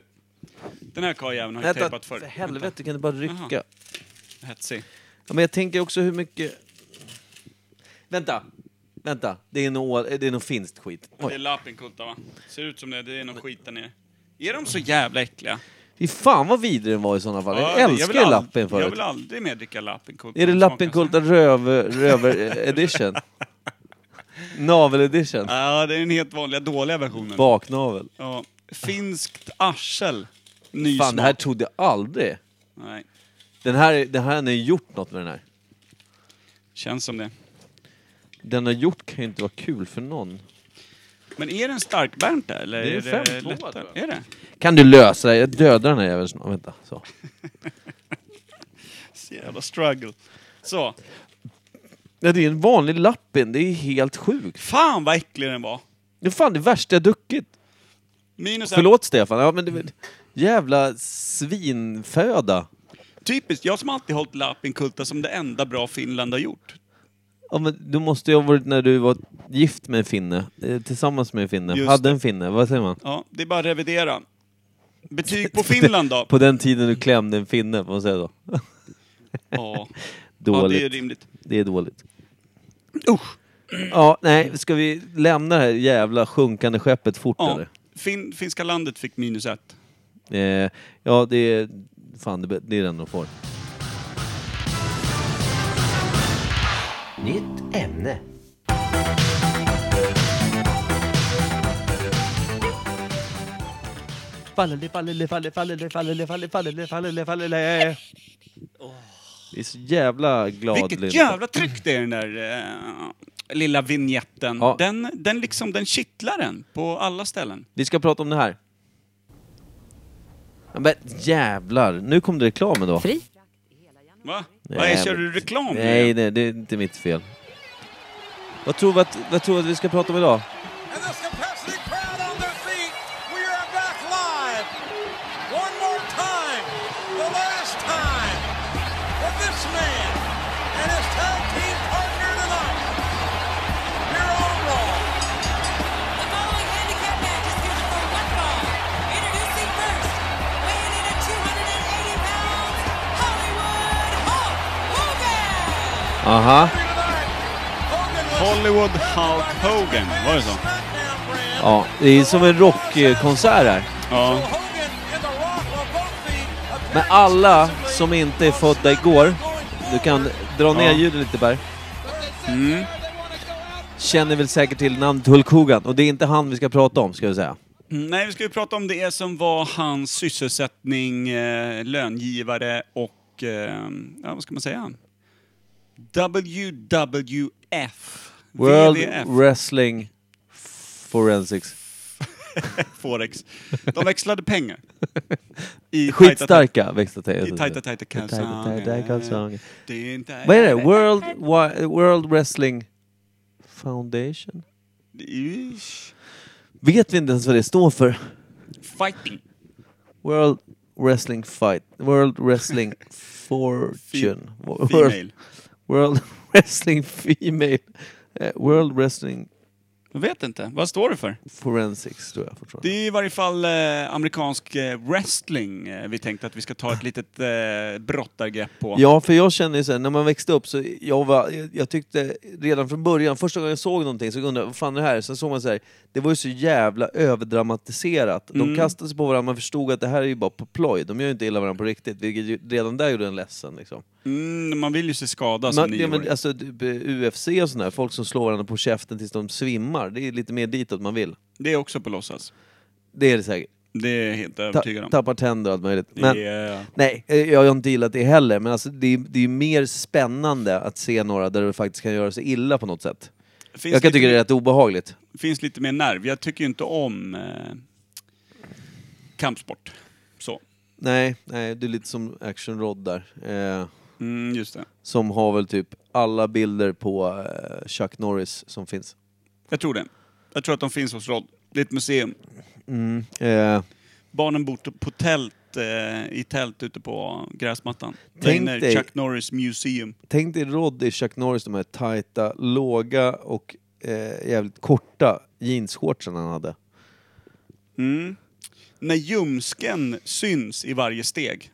Speaker 2: Den här karljäveln har ju
Speaker 1: Vänta,
Speaker 2: tejpat förr.
Speaker 1: för helvete kan du bara rycka?
Speaker 2: Jaha. <laughs> Hetsig.
Speaker 1: Ja, men jag tänker också hur mycket... Vänta! Vänta, det är nog, det är nog finskt skit.
Speaker 2: Det är
Speaker 1: Oj.
Speaker 2: Lapinkulta va? Ser ut som det, det är någon skit där nere. Är de så jävla äckliga?
Speaker 1: Fy fan vad vidrig den var i sådana fall.
Speaker 2: Ja,
Speaker 1: jag älskar
Speaker 2: vill
Speaker 1: ju
Speaker 2: ald-
Speaker 1: lappen
Speaker 2: Jag
Speaker 1: förut.
Speaker 2: vill aldrig mer dricka Lapinkulta.
Speaker 1: Är det
Speaker 2: Den smakar
Speaker 1: Lappenkulta
Speaker 2: så-
Speaker 1: röv, röver
Speaker 2: <laughs>
Speaker 1: edition? Navel edition?
Speaker 2: Ja, det är den helt vanliga dåliga versionen.
Speaker 1: Baknavel.
Speaker 2: Ja. Finskt arsel. Ny
Speaker 1: Fan, det här
Speaker 2: smak.
Speaker 1: trodde jag aldrig.
Speaker 2: Nej,
Speaker 1: Den här, den här, den har ju gjort något med den här.
Speaker 2: känns som det.
Speaker 1: Den har gjort kan ju inte vara kul för någon.
Speaker 2: Men är den starkbärnt där? Eller
Speaker 1: Det är
Speaker 2: är,
Speaker 1: en
Speaker 2: det
Speaker 1: 5-2, tror
Speaker 2: lättare?
Speaker 1: jag.
Speaker 2: Är det?
Speaker 1: Kan du lösa det? Jag dödar den här jäveln snart. Vänta, så.
Speaker 2: Så jävla struggle. Så.
Speaker 1: Ja, det är en vanlig lappin. Det är helt sjukt.
Speaker 2: Fan vad äcklig den var.
Speaker 1: Det är fan det värsta jag druckit.
Speaker 2: Minus en.
Speaker 1: Förlåt Stefan, ja, men det, jävla svinföda.
Speaker 2: Typiskt, jag som alltid hållit Lapinkulta som det enda bra Finland har gjort.
Speaker 1: Ja, men du måste ju ha varit när du var gift med en finne, eh, tillsammans med en finne,
Speaker 2: Just
Speaker 1: hade en finne, vad säger man?
Speaker 2: Ja, det är bara att revidera.
Speaker 1: <laughs>
Speaker 2: Betyg på Finland då?
Speaker 1: På den tiden du klämde en finne, får man säga då?
Speaker 2: Ja, ja
Speaker 1: Dåligt.
Speaker 2: det är
Speaker 1: det, är...
Speaker 2: rimligt.
Speaker 1: dåligt.
Speaker 2: Usch!
Speaker 1: Ja, nej, ska vi lämna det här jävla sjunkande skeppet fort
Speaker 2: Ja.
Speaker 1: eller?
Speaker 2: Fin, finska landet fick minus ett.
Speaker 1: Eh, ja, det är... Fan, det, det är den de får.
Speaker 5: Nytt ämne.
Speaker 1: Det är så jävla glad
Speaker 2: Vilket
Speaker 1: Linda.
Speaker 2: jävla tryck det är i den där eh, lilla vignetten.
Speaker 1: Ja.
Speaker 2: Den, den liksom, den kittlar en på alla ställen.
Speaker 1: Vi ska prata om det här. Ja, Men jävlar, nu kom det reklamen då.
Speaker 6: Fri
Speaker 2: Va?
Speaker 1: Nej,
Speaker 2: Nej,
Speaker 1: men-
Speaker 2: kör du reklam? för
Speaker 1: Nej,
Speaker 2: det?
Speaker 1: nej, det är inte mitt fel. Vad tror vi att, vad tror vi att vi ska prata om idag?
Speaker 7: And this capacity crowd on their feet. We are back live. One more time. The last time. For this man and his tag team partner tonight. Here on Raw.
Speaker 3: The following handicap match is scheduled for one fall. Introducing first, weighing in at 280 pounds, Hollywood Hulk Hogan.
Speaker 1: Aha,
Speaker 2: Hollywood Hulk Hogan, var det så?
Speaker 1: ja, det är som en rockkonsert här.
Speaker 2: Ja.
Speaker 1: Men alla som inte är födda igår, du kan dra ner ljudet lite Per.
Speaker 2: Mm.
Speaker 1: Känner väl säkert till namnet Hulk Hogan, och det är inte han vi ska prata om ska vi säga.
Speaker 2: Mm, Nej, vi ska ju prata om det som var hans sysselsättning, eh, löngivare och, eh, ja, vad ska man säga? WWF.
Speaker 1: World
Speaker 2: WWF.
Speaker 1: Wrestling Forensics.
Speaker 2: <laughs> Forex. De
Speaker 1: <laughs>
Speaker 2: växlade pengar. I
Speaker 1: Skitstarka växlar
Speaker 2: tajta- I tajta, tajta kalsonger.
Speaker 1: kalsonger.
Speaker 2: Det är inte...
Speaker 1: Vad är det? World, Wi- World Wrestling Foundation?
Speaker 2: Ish.
Speaker 1: Vet vi inte ens vad det står för?
Speaker 2: Fighting.
Speaker 1: World Wrestling
Speaker 2: <laughs>
Speaker 1: Fight. World Wrestling Fortune. World,
Speaker 2: Female.
Speaker 1: World <laughs> Wrestling Female. Eh, World Wrestling
Speaker 2: Jag vet inte. Vad står det för?
Speaker 1: Forensics tror jag fortfarande.
Speaker 2: Det är i varje fall eh, amerikansk eh, wrestling eh, vi tänkte att vi ska ta ett litet eh, brottargrepp på.
Speaker 1: Ja, för jag känner ju så här, när man växte upp så jag, var, jag, jag tyckte redan från början, första gången jag såg någonting så undrade jag vad fan är det här? Sen såg man så här, det var ju så jävla överdramatiserat. De
Speaker 2: Mm.
Speaker 1: kastade sig på varandra, man förstod att det här är ju bara på ploj. De gör ju inte illa varandra på riktigt, vilket ju, redan där gjorde en ledsen liksom.
Speaker 2: Mm, man vill ju se skada som
Speaker 1: Man, ja, men,
Speaker 2: nioåring.
Speaker 1: alltså, typ, eh, UFC och sådär, folk som slår varandra på käften tills de svimmar, det är lite mer ditåt man vill.
Speaker 2: Det är också på låtsas.
Speaker 1: Det är det säkert.
Speaker 2: Det är jag helt
Speaker 1: Ta,
Speaker 2: övertygad om.
Speaker 1: tappar tänder och allt möjligt.
Speaker 2: Det
Speaker 1: Men,
Speaker 2: är-
Speaker 1: Nej, eh, jag har inte gillat det heller, men alltså, det, är, det är ju mer spännande att se några där du faktiskt kan göra sig illa på något sätt.
Speaker 2: finns
Speaker 1: jag kan
Speaker 2: lite
Speaker 1: tycka det
Speaker 2: mer-
Speaker 1: är rätt obehagligt.
Speaker 2: finns lite mer nerv. Jag tycker ju inte om eh, kampsport. Så.
Speaker 1: Nej, nej, du är lite som Action Rod där. Eh,
Speaker 2: Mm, just det.
Speaker 1: som har väl typ alla bilder på eh, Chuck Norris som finns.
Speaker 2: Jag tror det. Jag tror att de finns hos Rod. Det är ett museum.
Speaker 1: Eh,
Speaker 2: Barnen bor t- på tält, eh, i tält ute på gräsmattan. Där
Speaker 1: Tänk
Speaker 2: inne är
Speaker 1: dig-
Speaker 2: Chuck Norris Museum.
Speaker 1: tänk dig Rod i Chuck Norris, de här tajta, låga och eh, jävligt korta jeansshortsen han hade. <laughs>
Speaker 2: Mm. När ljumsken syns i varje steg.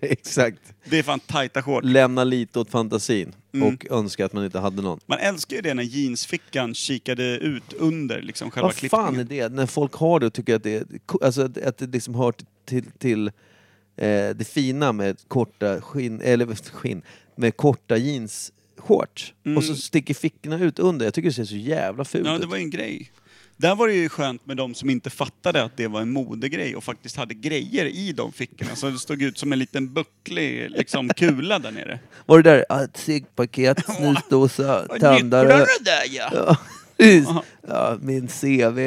Speaker 1: Exakt.
Speaker 2: Det är fan tajta shorts.
Speaker 1: Lämna lite åt fantasin
Speaker 2: Mm.
Speaker 1: och önska att man inte hade någon.
Speaker 2: Man älskar ju det när jeansfickan kikade ut under liksom själva
Speaker 1: Vad fan är
Speaker 2: klippningen.
Speaker 1: det? När folk har det och tycker att det, är ko- alltså att, att det liksom hör till, till, till eh, det fina med korta skinn, eller <laughs> skinn, med korta jeansshorts. Och så sticker fickorna ut under. Jag tycker det ser så jävla fult
Speaker 2: Mm. Ja,
Speaker 1: ut.
Speaker 2: det var ju en grej. Där var det ju skönt med de som inte fattade att det var en modegrej och faktiskt hade grejer i de fickorna. Så det stod ut som en liten bucklig liksom, kula där nere.
Speaker 1: Var det där ah, ett
Speaker 2: <laughs>
Speaker 1: ciggpaket, snusdosa,
Speaker 2: Vad nyttjar
Speaker 1: tändare?
Speaker 2: det där ja!
Speaker 1: <laughs> Ja, precis. ja, min CV.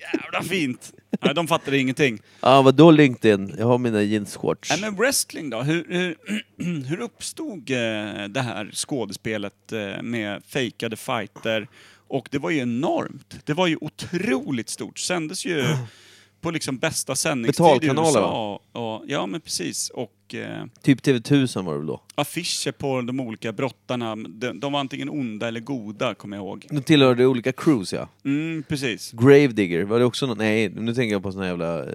Speaker 2: Jävla fint! Nej, de fattade ingenting.
Speaker 1: Ja, vadå LinkedIn? Jag har mina jeansshorts.
Speaker 2: Nej, men wrestling då? Hur, hur, hur <clears throat> uppstod eh, det här skådespelet eh, med fejkade fighter? Och det var ju enormt. Det var ju otroligt stort. Sändes ju på liksom bästa sändningstid i
Speaker 1: Betalkanaler,
Speaker 2: USA. Och, ja, men precis. Och eh,
Speaker 1: Typ TV1000 var det väl då?
Speaker 2: affischer på de olika brottarna. De, de var antingen onda eller goda, kommer jag ihåg.
Speaker 1: De tillhörde olika crews ja.
Speaker 2: Mm, precis.
Speaker 1: Gravedigger, var det också någon? Nej, nu tänker jag på såna jävla... Eh,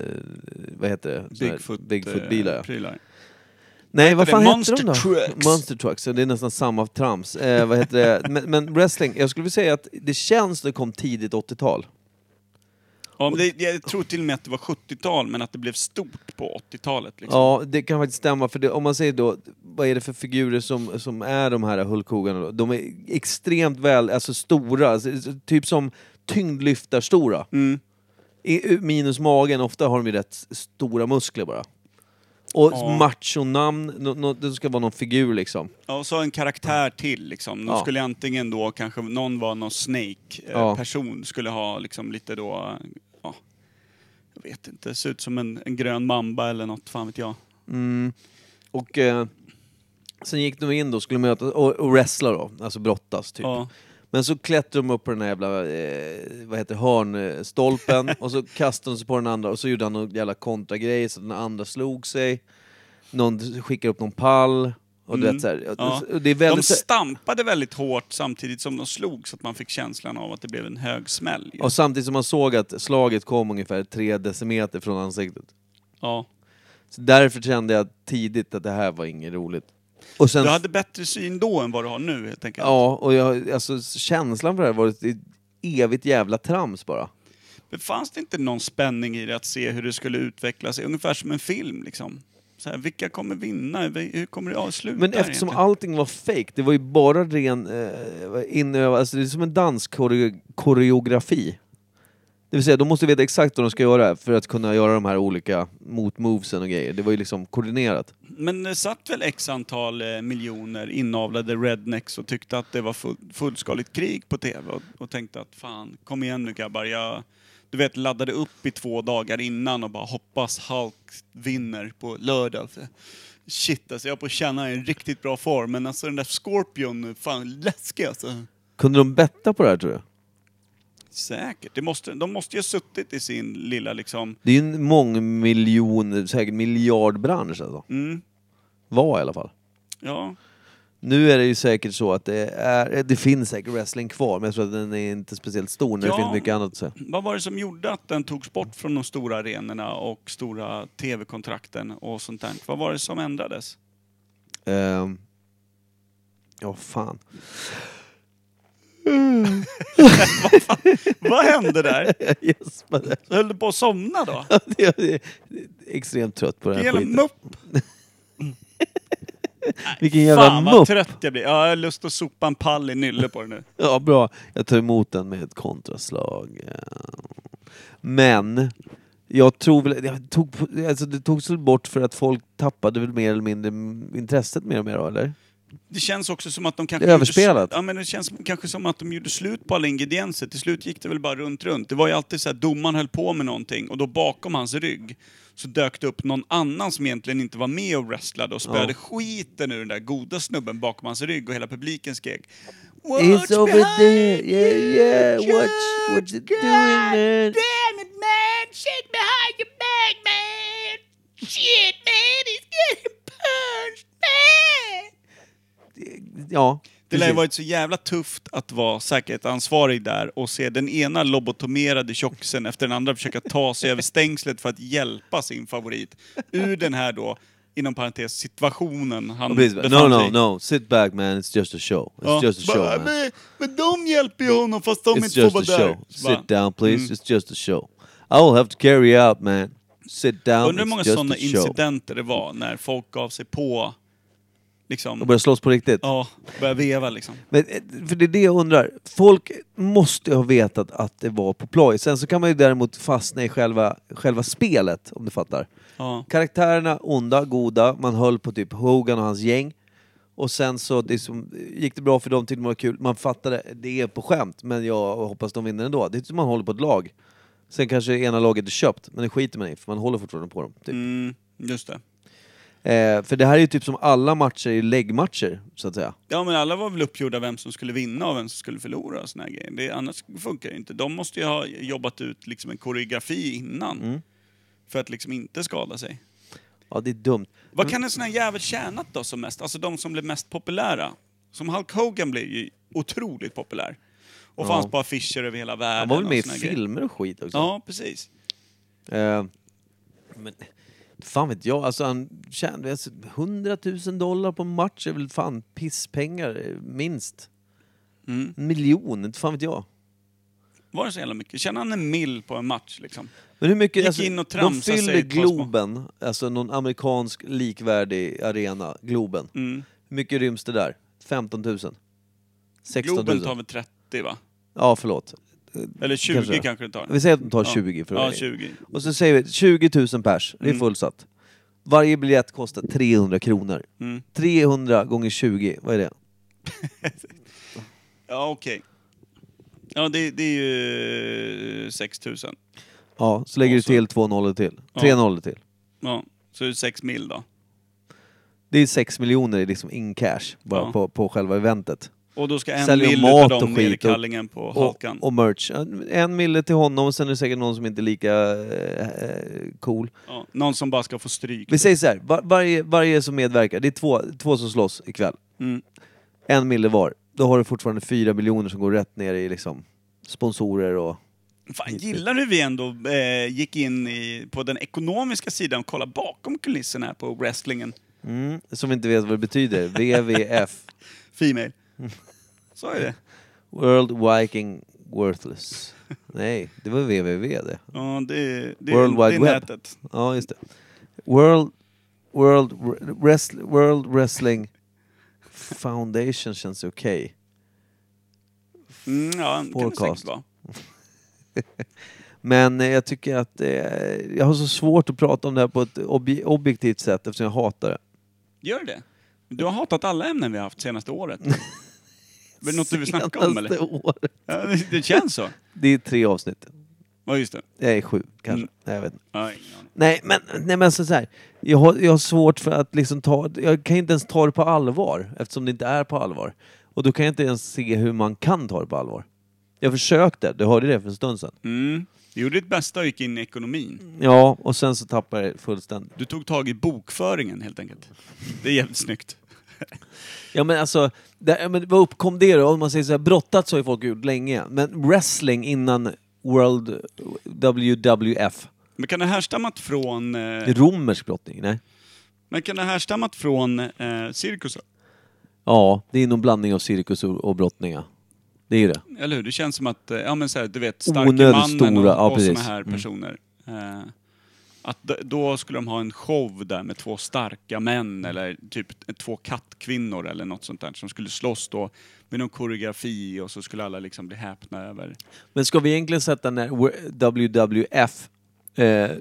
Speaker 1: vad heter det? Såna här
Speaker 2: Bigfoot,
Speaker 1: Bigfoot-bilar
Speaker 2: eh,
Speaker 1: ja.
Speaker 2: prylar.
Speaker 1: Nej, vad
Speaker 2: det?
Speaker 1: fan
Speaker 2: Monster
Speaker 1: heter de då?
Speaker 2: Trucks.
Speaker 1: Monster Trucks. ja, Det är nästan samma trams. Eh, vad heter det? Men, men wrestling, jag skulle vilja säga att det känns det kom tidigt 80-tal.
Speaker 2: Ja, men det, jag tror till och med att det var 70-tal, men att det blev stort på 80-talet. Liksom.
Speaker 1: Ja, det kan faktiskt stämma. För det, om man säger då, vad är det för figurer som, som är de här Hulk Hogan då? De är extremt väl, alltså stora, alltså, typ som tyngdlyftarstora.
Speaker 2: Mm.
Speaker 1: I- Minus magen, ofta har de ju rätt s- stora muskler bara. Och
Speaker 2: Ja.
Speaker 1: machonamn, no, no, det ska vara någon figur liksom.
Speaker 2: Ja, och så en karaktär till liksom. De
Speaker 1: Ja.
Speaker 2: skulle antingen då kanske, någon var någon
Speaker 1: Ja.
Speaker 2: Snake-person, skulle ha liksom lite då, ja, jag vet inte, se ut som en, en grön mamba eller något, fan vet jag.
Speaker 1: Och eh, sen gick de in då, skulle möta och, och wrestla då, alltså brottas typ.
Speaker 2: Ja.
Speaker 1: Men så klättrade de upp på den här jävla, eh, vad heter det,
Speaker 2: <laughs>
Speaker 1: hörnstolpen och så kastade de sig på den andra och så gjorde han någon jävla kontragrej så den andra slog sig. Någon skickade upp någon pall. Och du vet så här,
Speaker 2: Mm. Ja.
Speaker 1: och det är
Speaker 2: De
Speaker 1: väldigt... så-
Speaker 2: stampade väldigt hårt samtidigt som de slog så att man fick känslan av att det blev en hög smäll. ju.
Speaker 1: Och samtidigt som man såg att slaget kom ungefär tre decimeter från ansiktet.
Speaker 2: Ja.
Speaker 1: Så därför kände jag tidigt att det här var inget roligt. Och sen
Speaker 2: Du hade bättre syn då än vad du har nu helt enkelt.
Speaker 1: Ja, och jag, alltså, känslan för det här var ett evigt jävla trams bara.
Speaker 2: Men fanns det inte någon spänning i det att se hur det skulle utveckla sig? Ungefär som en film liksom. Så här, vilka kommer vinna? Hur kommer det avsluta?
Speaker 1: Men eftersom
Speaker 2: egentligen?
Speaker 1: allting var fake, det var ju bara ren eh, inövad, alltså det är som en danskoreografi. Det vill säga, de måste veta exakt vad de ska göra för att kunna göra de här olika motmovesen och grejer. Det var ju liksom koordinerat.
Speaker 2: Men det satt väl x antal eh, miljoner inavlade rednecks och tyckte att det var full, fullskaligt krig på tv och, och tänkte att fan, kom igen nu grabbar, jag... Du vet, laddade upp i två dagar innan och bara hoppas Hulk vinner på lördag. För Shit alltså, jag på känna en riktigt bra form, men alltså den där Scorpion, fan läskig alltså.
Speaker 1: Kunde de betta på det här tror du?
Speaker 2: Säkert, det måste, de måste ju ha suttit i sin lilla liksom...
Speaker 1: Det är ju en mångmiljon, säkert miljardbransch alltså.
Speaker 2: Mm.
Speaker 1: Var i alla fall.
Speaker 2: Ja.
Speaker 1: Nu är det ju säkert så att det, är, eh, det finns säkert wrestling kvar, men jag tror att den är inte speciellt stor när
Speaker 2: Ja.
Speaker 1: det finns mycket annat att säga.
Speaker 2: Vad var det som gjorde att den togs bort från de stora arenorna och stora tv-kontrakten och sånt där? Vad var det som ändrades?
Speaker 1: Ehm. Ja, fan.
Speaker 2: Vad hände där?
Speaker 1: Jag gäspade.
Speaker 2: Så höll du på att somna då?
Speaker 1: Jag är extremt trött på den här
Speaker 2: Hela
Speaker 1: skiten.
Speaker 2: mupp!
Speaker 1: Vilken jävla
Speaker 2: Fan vad
Speaker 1: mupp!
Speaker 2: trött jag blir. Ja, jag har lust att sopa en pall i nylle på det nu.
Speaker 1: Ja, bra. Jag tar emot den med ett kontraslag. Eh, Men, jag tror väl... Jag tog, alltså det togs väl bort för att folk tappade väl mer eller mindre intresset mer och mer, då, eller?
Speaker 2: Det känns också som att de kanske...
Speaker 1: Det är överspelat.
Speaker 2: Gjorde, ja, men det känns som- kanske som att de gjorde slut på alla ingredienser. Till slut gick det väl bara runt, runt. Det var ju alltid så här, domaren höll på med någonting och då bakom hans rygg så dök det upp någon annan som egentligen inte var med och wrestlade och spöade skiten ur den där goda snubben bakom hans rygg och hela publiken skrek What's
Speaker 1: It's over
Speaker 2: behind
Speaker 1: there!
Speaker 2: you?
Speaker 1: Yeah, yeah! What's, what's it doing, man?
Speaker 3: Damn it, man! Shit behind your back, man! Shit, man! He's getting punched, man!
Speaker 1: Ja,
Speaker 2: Det lär ju
Speaker 1: precis.
Speaker 2: varit så jävla tufft att vara säkerhetsansvarig där och se den ena lobotomerade tjocksen efter den andra försöka ta sig över stängslet för att hjälpa sin favorit ur den här då, inom parentes, situationen han
Speaker 1: Och precis,
Speaker 2: befann
Speaker 1: No,
Speaker 2: sig
Speaker 1: no,
Speaker 2: i.
Speaker 1: no. Sit back man, it's just a show. It's
Speaker 2: Ja.
Speaker 1: just a show
Speaker 2: Bara,
Speaker 1: man.
Speaker 2: men, men de hjälper ju honom fast de
Speaker 1: It's
Speaker 2: inte får
Speaker 1: just a
Speaker 2: vara där. Mm.
Speaker 1: show.
Speaker 2: Så bara,
Speaker 1: Sit down please, it's just a show. I will have to carry out man. Sit down,
Speaker 2: Undrar hur många
Speaker 1: it's just
Speaker 2: sådana
Speaker 1: a show.
Speaker 2: incidenter det var när folk gav sig på,
Speaker 1: Och
Speaker 2: liksom,
Speaker 1: börjar slåss på riktigt.
Speaker 2: ja, började veva liksom.
Speaker 1: Men, eh, för det är det jag undrar. Folk måste ju ha vetat att det var på ploj. Sen så kan man ju däremot fastna i själva, själva spelet, om du fattar.
Speaker 2: Ja.
Speaker 1: Karaktärerna onda, goda, man höll på typ Hogan och hans gäng. Och sen så liksom, gick det bra för dem, tyckte man var kul. Man fattade, det är på skämt, men jag hoppas de vinner ändå. Det är som man håller på ett lag. Sen kanske det ena laget är köpt, men det skiter man i, för man håller fortfarande på dem. Typ.
Speaker 2: Mm, just det.
Speaker 1: Eh, för det här är ju typ som alla matcher är läggmatcher, så att säga.
Speaker 2: Ja men alla var väl uppgjorda vem som skulle vinna och vem som skulle förlora och såna här grejer. Det, annars funkar det inte. De måste ju ha jobbat ut liksom en koreografi innan.
Speaker 1: Mm.
Speaker 2: För att liksom inte skada sig.
Speaker 1: Ja, det är dumt.
Speaker 2: Vad kan en sån här jävel tjänat då som mest? Alltså de som blev mest populära. Som Hulk Hogan blev ju otroligt populär. Och fanns på affischer över hela världen.
Speaker 1: Han var väl
Speaker 2: och
Speaker 1: med i
Speaker 2: såna här grejer.
Speaker 1: filmer och skit också?
Speaker 2: Ja, precis.
Speaker 1: Eh, men fan vet jag, alltså han tjänade alltså, 100 000 dollar på en match är väl fan pisspengar eh, minst.
Speaker 2: Mm.
Speaker 1: En miljon, inte fan vet jag.
Speaker 2: Var det så jävla mycket? Tjänade han en mil på en match liksom?
Speaker 1: Men hur mycket,
Speaker 2: Gick
Speaker 1: alltså,
Speaker 2: in och
Speaker 1: de
Speaker 2: tramsade sig
Speaker 1: fyller
Speaker 2: på små-
Speaker 1: Globen, alltså någon amerikansk likvärdig arena, Globen.
Speaker 2: Mm.
Speaker 1: Hur mycket ryms det där? 15 000? 16 000?
Speaker 2: Globen tar väl 30 va?
Speaker 1: Ja, förlåt.
Speaker 2: Eller 20
Speaker 1: Kanske.
Speaker 2: kanske, det tar.
Speaker 1: Vi säger att de tar
Speaker 2: Ja.
Speaker 1: 20 för
Speaker 2: Ja, 20.
Speaker 1: Och så säger vi 20 000 pers,
Speaker 2: Mm.
Speaker 1: det är fullsatt. Varje biljett kostar 300 kronor.
Speaker 2: Mm.
Speaker 1: 300 gånger 20, vad är det?
Speaker 2: Ja, okej. Ja, det, det är ju eh, 6 000.
Speaker 1: Ja, så lägger
Speaker 2: Och
Speaker 1: du
Speaker 2: så-
Speaker 1: till två nollor till.
Speaker 2: Ja.
Speaker 1: Tre nollor till.
Speaker 2: Ja, så det är 6 mil då.
Speaker 1: Det är 6 miljoner i liksom in cash bara
Speaker 2: Ja.
Speaker 1: på, på själva eventet.
Speaker 2: Och då ska en
Speaker 1: Säljer
Speaker 2: mil
Speaker 1: mat
Speaker 2: utav dem
Speaker 1: och
Speaker 2: ner i
Speaker 1: skit och-
Speaker 2: kallingen på
Speaker 1: Och,
Speaker 2: halkan.
Speaker 1: och merch. En mille till honom, sen är det säkert någon som inte är lika eh, eh, cool.
Speaker 2: Ja, någon som bara ska få stryk.
Speaker 1: Vi säger så här, var, varje, varje som medverkar, det är två, två som slåss ikväll.
Speaker 2: Mm.
Speaker 1: En mille var. Då har du fortfarande fyra miljoner som går rätt ner i liksom sponsorer och...
Speaker 2: Fan, gillar du vi ändå eh, gick in i, på den ekonomiska sidan och kollade bakom kulisserna här på wrestlingen?
Speaker 1: Mm, som inte vet vad det betyder. WWF. <laughs>
Speaker 2: Female. Så är det.
Speaker 1: World Viking Worthless. Nej, det var WWW det.
Speaker 2: Ja, det, det,
Speaker 1: World
Speaker 2: det är
Speaker 1: Wide Web.
Speaker 2: nätet.
Speaker 1: Ja, just det. World, World, Wrest, World Wrestling Foundation känns okej.
Speaker 2: Mm, ja, det kan det
Speaker 1: Forecast.
Speaker 2: säkert vara.
Speaker 1: Men eh, jag tycker att eh, jag har så svårt att prata om det här på ett obje- objektivt sätt eftersom jag hatar det.
Speaker 2: Gör det? Du har hatat alla ämnen vi har haft senaste året.
Speaker 1: <laughs>
Speaker 2: Är det något du vill snacka om
Speaker 1: Senaste
Speaker 2: eller?
Speaker 1: året.
Speaker 2: Ja, det, det känns så.
Speaker 1: Det är tre avsnitt.
Speaker 2: Ja, just det.
Speaker 1: Nej, sju kanske.
Speaker 2: Mm.
Speaker 1: Nej, jag vet inte.
Speaker 2: Ja, ingen aning.
Speaker 1: Nej, men, nej, men så så här. Jag, har, jag har svårt för att liksom ta... Jag kan inte ens ta det på allvar eftersom det inte är på allvar. Och då kan jag inte ens se hur man kan ta det på allvar. Jag försökte, du hörde det för en stund sedan.
Speaker 2: Mm. Du gjorde ditt bästa och gick in i ekonomin.
Speaker 1: Ja, och sen så tappar jag det fullständigt.
Speaker 2: Du tog tag i bokföringen helt enkelt. Det är jävligt snyggt.
Speaker 1: Ja men alltså, det, ja, men vad uppkom det då? Om man säger så här, brottats har ju folk gjort länge. Men wrestling innan World WWF?
Speaker 2: Men kan det härstammat från... Eh,
Speaker 1: Romersk brottning? Nej.
Speaker 2: men kan det härstammat från eh, cirkus?
Speaker 1: Ja, det är någon blandning av cirkus och, och brottning ja. Det är ju det.
Speaker 2: Eller hur? Det känns som att, eh, ja men så här, du vet, starke
Speaker 1: Onödigt
Speaker 2: mannen och,
Speaker 1: stora, ja,
Speaker 2: och såna
Speaker 1: precis.
Speaker 2: här
Speaker 1: Mm.
Speaker 2: personer. Eh, att d- då skulle de ha en show där med två starka män eller typ t- två kattkvinnor eller något sånt där som skulle slåss då med någon koreografi och så skulle alla liksom bli häpna över.
Speaker 1: Men ska vi egentligen sätta när WWF eh,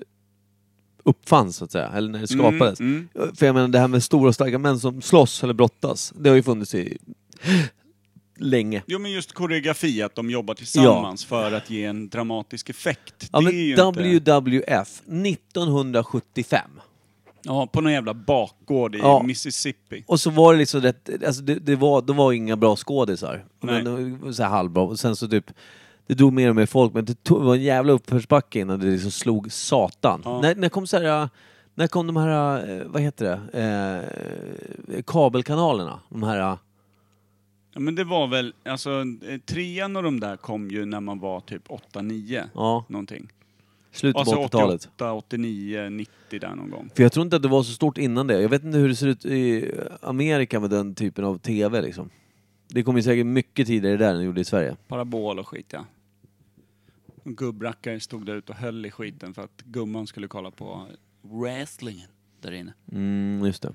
Speaker 1: uppfanns så att säga, eller när det skapades?
Speaker 2: Mm,
Speaker 1: För jag menar det här med stora och starka män som slåss eller brottas, det har ju funnits i länge.
Speaker 2: Jo men just koreografi, att de jobbar tillsammans för att ge en dramatisk effekt.
Speaker 1: Ja
Speaker 2: det är ju
Speaker 1: men
Speaker 2: inte...
Speaker 1: WWF 1975.
Speaker 2: Ja, på någon jävla bakgård i
Speaker 1: Ja.
Speaker 2: Mississippi.
Speaker 1: Och så var det liksom rätt, alltså det, det, var, det var inga bra skådisar.
Speaker 2: Nej.
Speaker 1: Men, eh, så här halvbra. Och sen så typ, det drog mer och mer folk men det tog, var en jävla uppförsbacke innan det liksom slog satan.
Speaker 2: Ja.
Speaker 1: När, när kom så här, eh, när kom de här, eh, vad heter det, eh, kabelkanalerna? De här, eh,
Speaker 2: Ja, men det var väl, alltså eh, trean och de där kom ju när man var typ 8-9.
Speaker 1: ja,
Speaker 2: Någonting.
Speaker 1: slutet
Speaker 2: Alltså
Speaker 1: på 80-talet.
Speaker 2: 88, 89, 90 där någon gång.
Speaker 1: För jag tror inte att det var så stort innan det. Jag vet inte hur det ser ut i Amerika med den typen av TV liksom. Det kom ju säkert mycket tidigare där än det gjorde i Sverige.
Speaker 2: Parabol och skit ja. Och Gubbrackare stod där ute och höll i skiten för att gumman skulle kolla på eh, wrestlingen där inne.
Speaker 1: Mm, just det.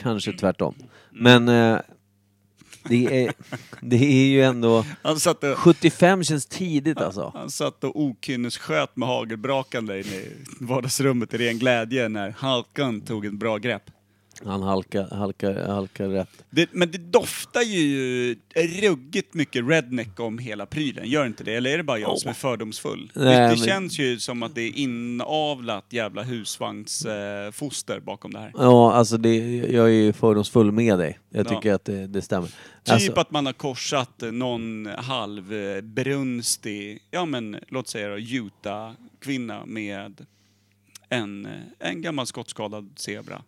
Speaker 1: Kanske tvärtom. Men eh, det, är, det är ju ändå...
Speaker 2: Han satt och,
Speaker 1: 75 känns tidigt alltså.
Speaker 2: han satt och okynnessköt med hagelbrakan där inne i vardagsrummet i ren glädje när Halkan tog ett bra grepp.
Speaker 1: Han halkar, halkar, halkar rätt.
Speaker 2: Det, men det doftar ju ruggigt mycket redneck om hela prylen, gör inte det? Eller är det bara jag som är fördomsfull?
Speaker 1: Nej,
Speaker 2: det det
Speaker 1: men-
Speaker 2: känns ju som att det är inavlat jävla husvagnsfoster eh, foster bakom det här.
Speaker 1: Ja, alltså det, jag är ju fördomsfull med dig. Jag
Speaker 2: Ja.
Speaker 1: tycker att det, det stämmer.
Speaker 2: Typ
Speaker 1: Alltså,
Speaker 2: att man har korsat eh, någon halv eh, brunstig, ja men låt säga då, Utah-kvinna med en, eh, en gammal skottskadad
Speaker 1: <laughs>
Speaker 2: zebra.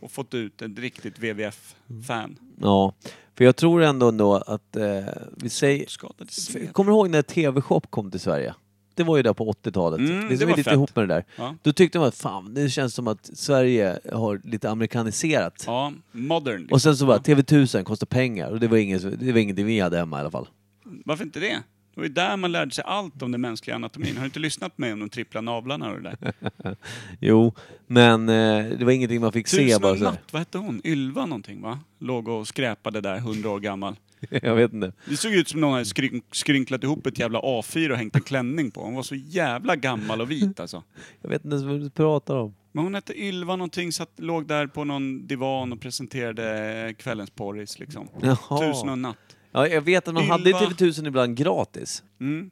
Speaker 2: Och fått ut en riktigt WWF-fan.
Speaker 1: ja. För jag tror ändå, ändå att eh, vi säger...
Speaker 2: Skottskadad zebra.
Speaker 1: Kommer du ihåg när TV-shop kom till Sverige? Det var ju där på 80-talet.
Speaker 2: Mm,
Speaker 1: det
Speaker 2: det
Speaker 1: som
Speaker 2: var
Speaker 1: är lite
Speaker 2: fett.
Speaker 1: ihop med det där.
Speaker 2: Ja.
Speaker 1: Då tyckte man att fan, det känns som att Sverige har lite amerikaniserat.
Speaker 2: ja, modern. Liksom.
Speaker 1: Och sen så bara, TV1000 kostar pengar och det var, ingen, det var ingenting vi hade hemma i alla fall.
Speaker 2: liksom. Varför inte det? Det var ju där man lärde sig allt om den mänskliga anatomin. Har du inte lyssnat med om de trippla navlarna och det
Speaker 1: <laughs>
Speaker 2: där?
Speaker 1: Jo, men eh, det var ingenting man fick se
Speaker 2: Tusen och
Speaker 1: bara
Speaker 2: en
Speaker 1: så.
Speaker 2: natt, vad hette hon? Ylva någonting va? Låg och skräpade där, hundra år gammal.
Speaker 1: <laughs> Jag vet inte.
Speaker 2: Det såg ut som någon hade skryn- skrynklat ihop ett jävla A4 och hängt en klänning på. Hon var så jävla gammal och vit alltså.
Speaker 1: Jag vet inte ens vad du pratar om.
Speaker 2: Men hon hette Ylva någonting, satt, låg där på någon divan och presenterade kvällens porris liksom.
Speaker 1: Jaha.
Speaker 2: Tusen och en natt.
Speaker 1: Ja, jag vet att man
Speaker 2: Ylva.
Speaker 1: hade ju TV1000 ibland gratis.
Speaker 2: Mm.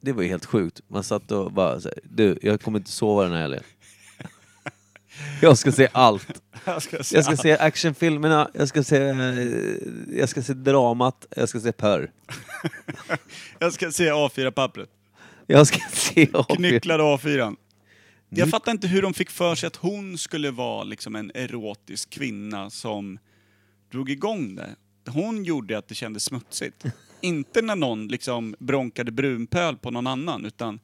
Speaker 1: Det var ju helt sjukt. Man satt och bara så här, du, jag kommer inte sova den här helgen. <laughs> Jag ska se allt.
Speaker 2: Jag ska säga.
Speaker 1: Jag ska se actionfilmerna, jag ska se, eh, jag ska se dramat, jag ska se Pörr.
Speaker 2: Jag ska se A4-pappret.
Speaker 1: Jag ska se...
Speaker 2: Knycklade A4. Jag fattar inte hur de fick för sig att hon skulle vara liksom en erotisk kvinna som drog igång det. Hon gjorde att det kändes smutsigt. inte när någon liksom bronkade brunpöl på någon annan, utan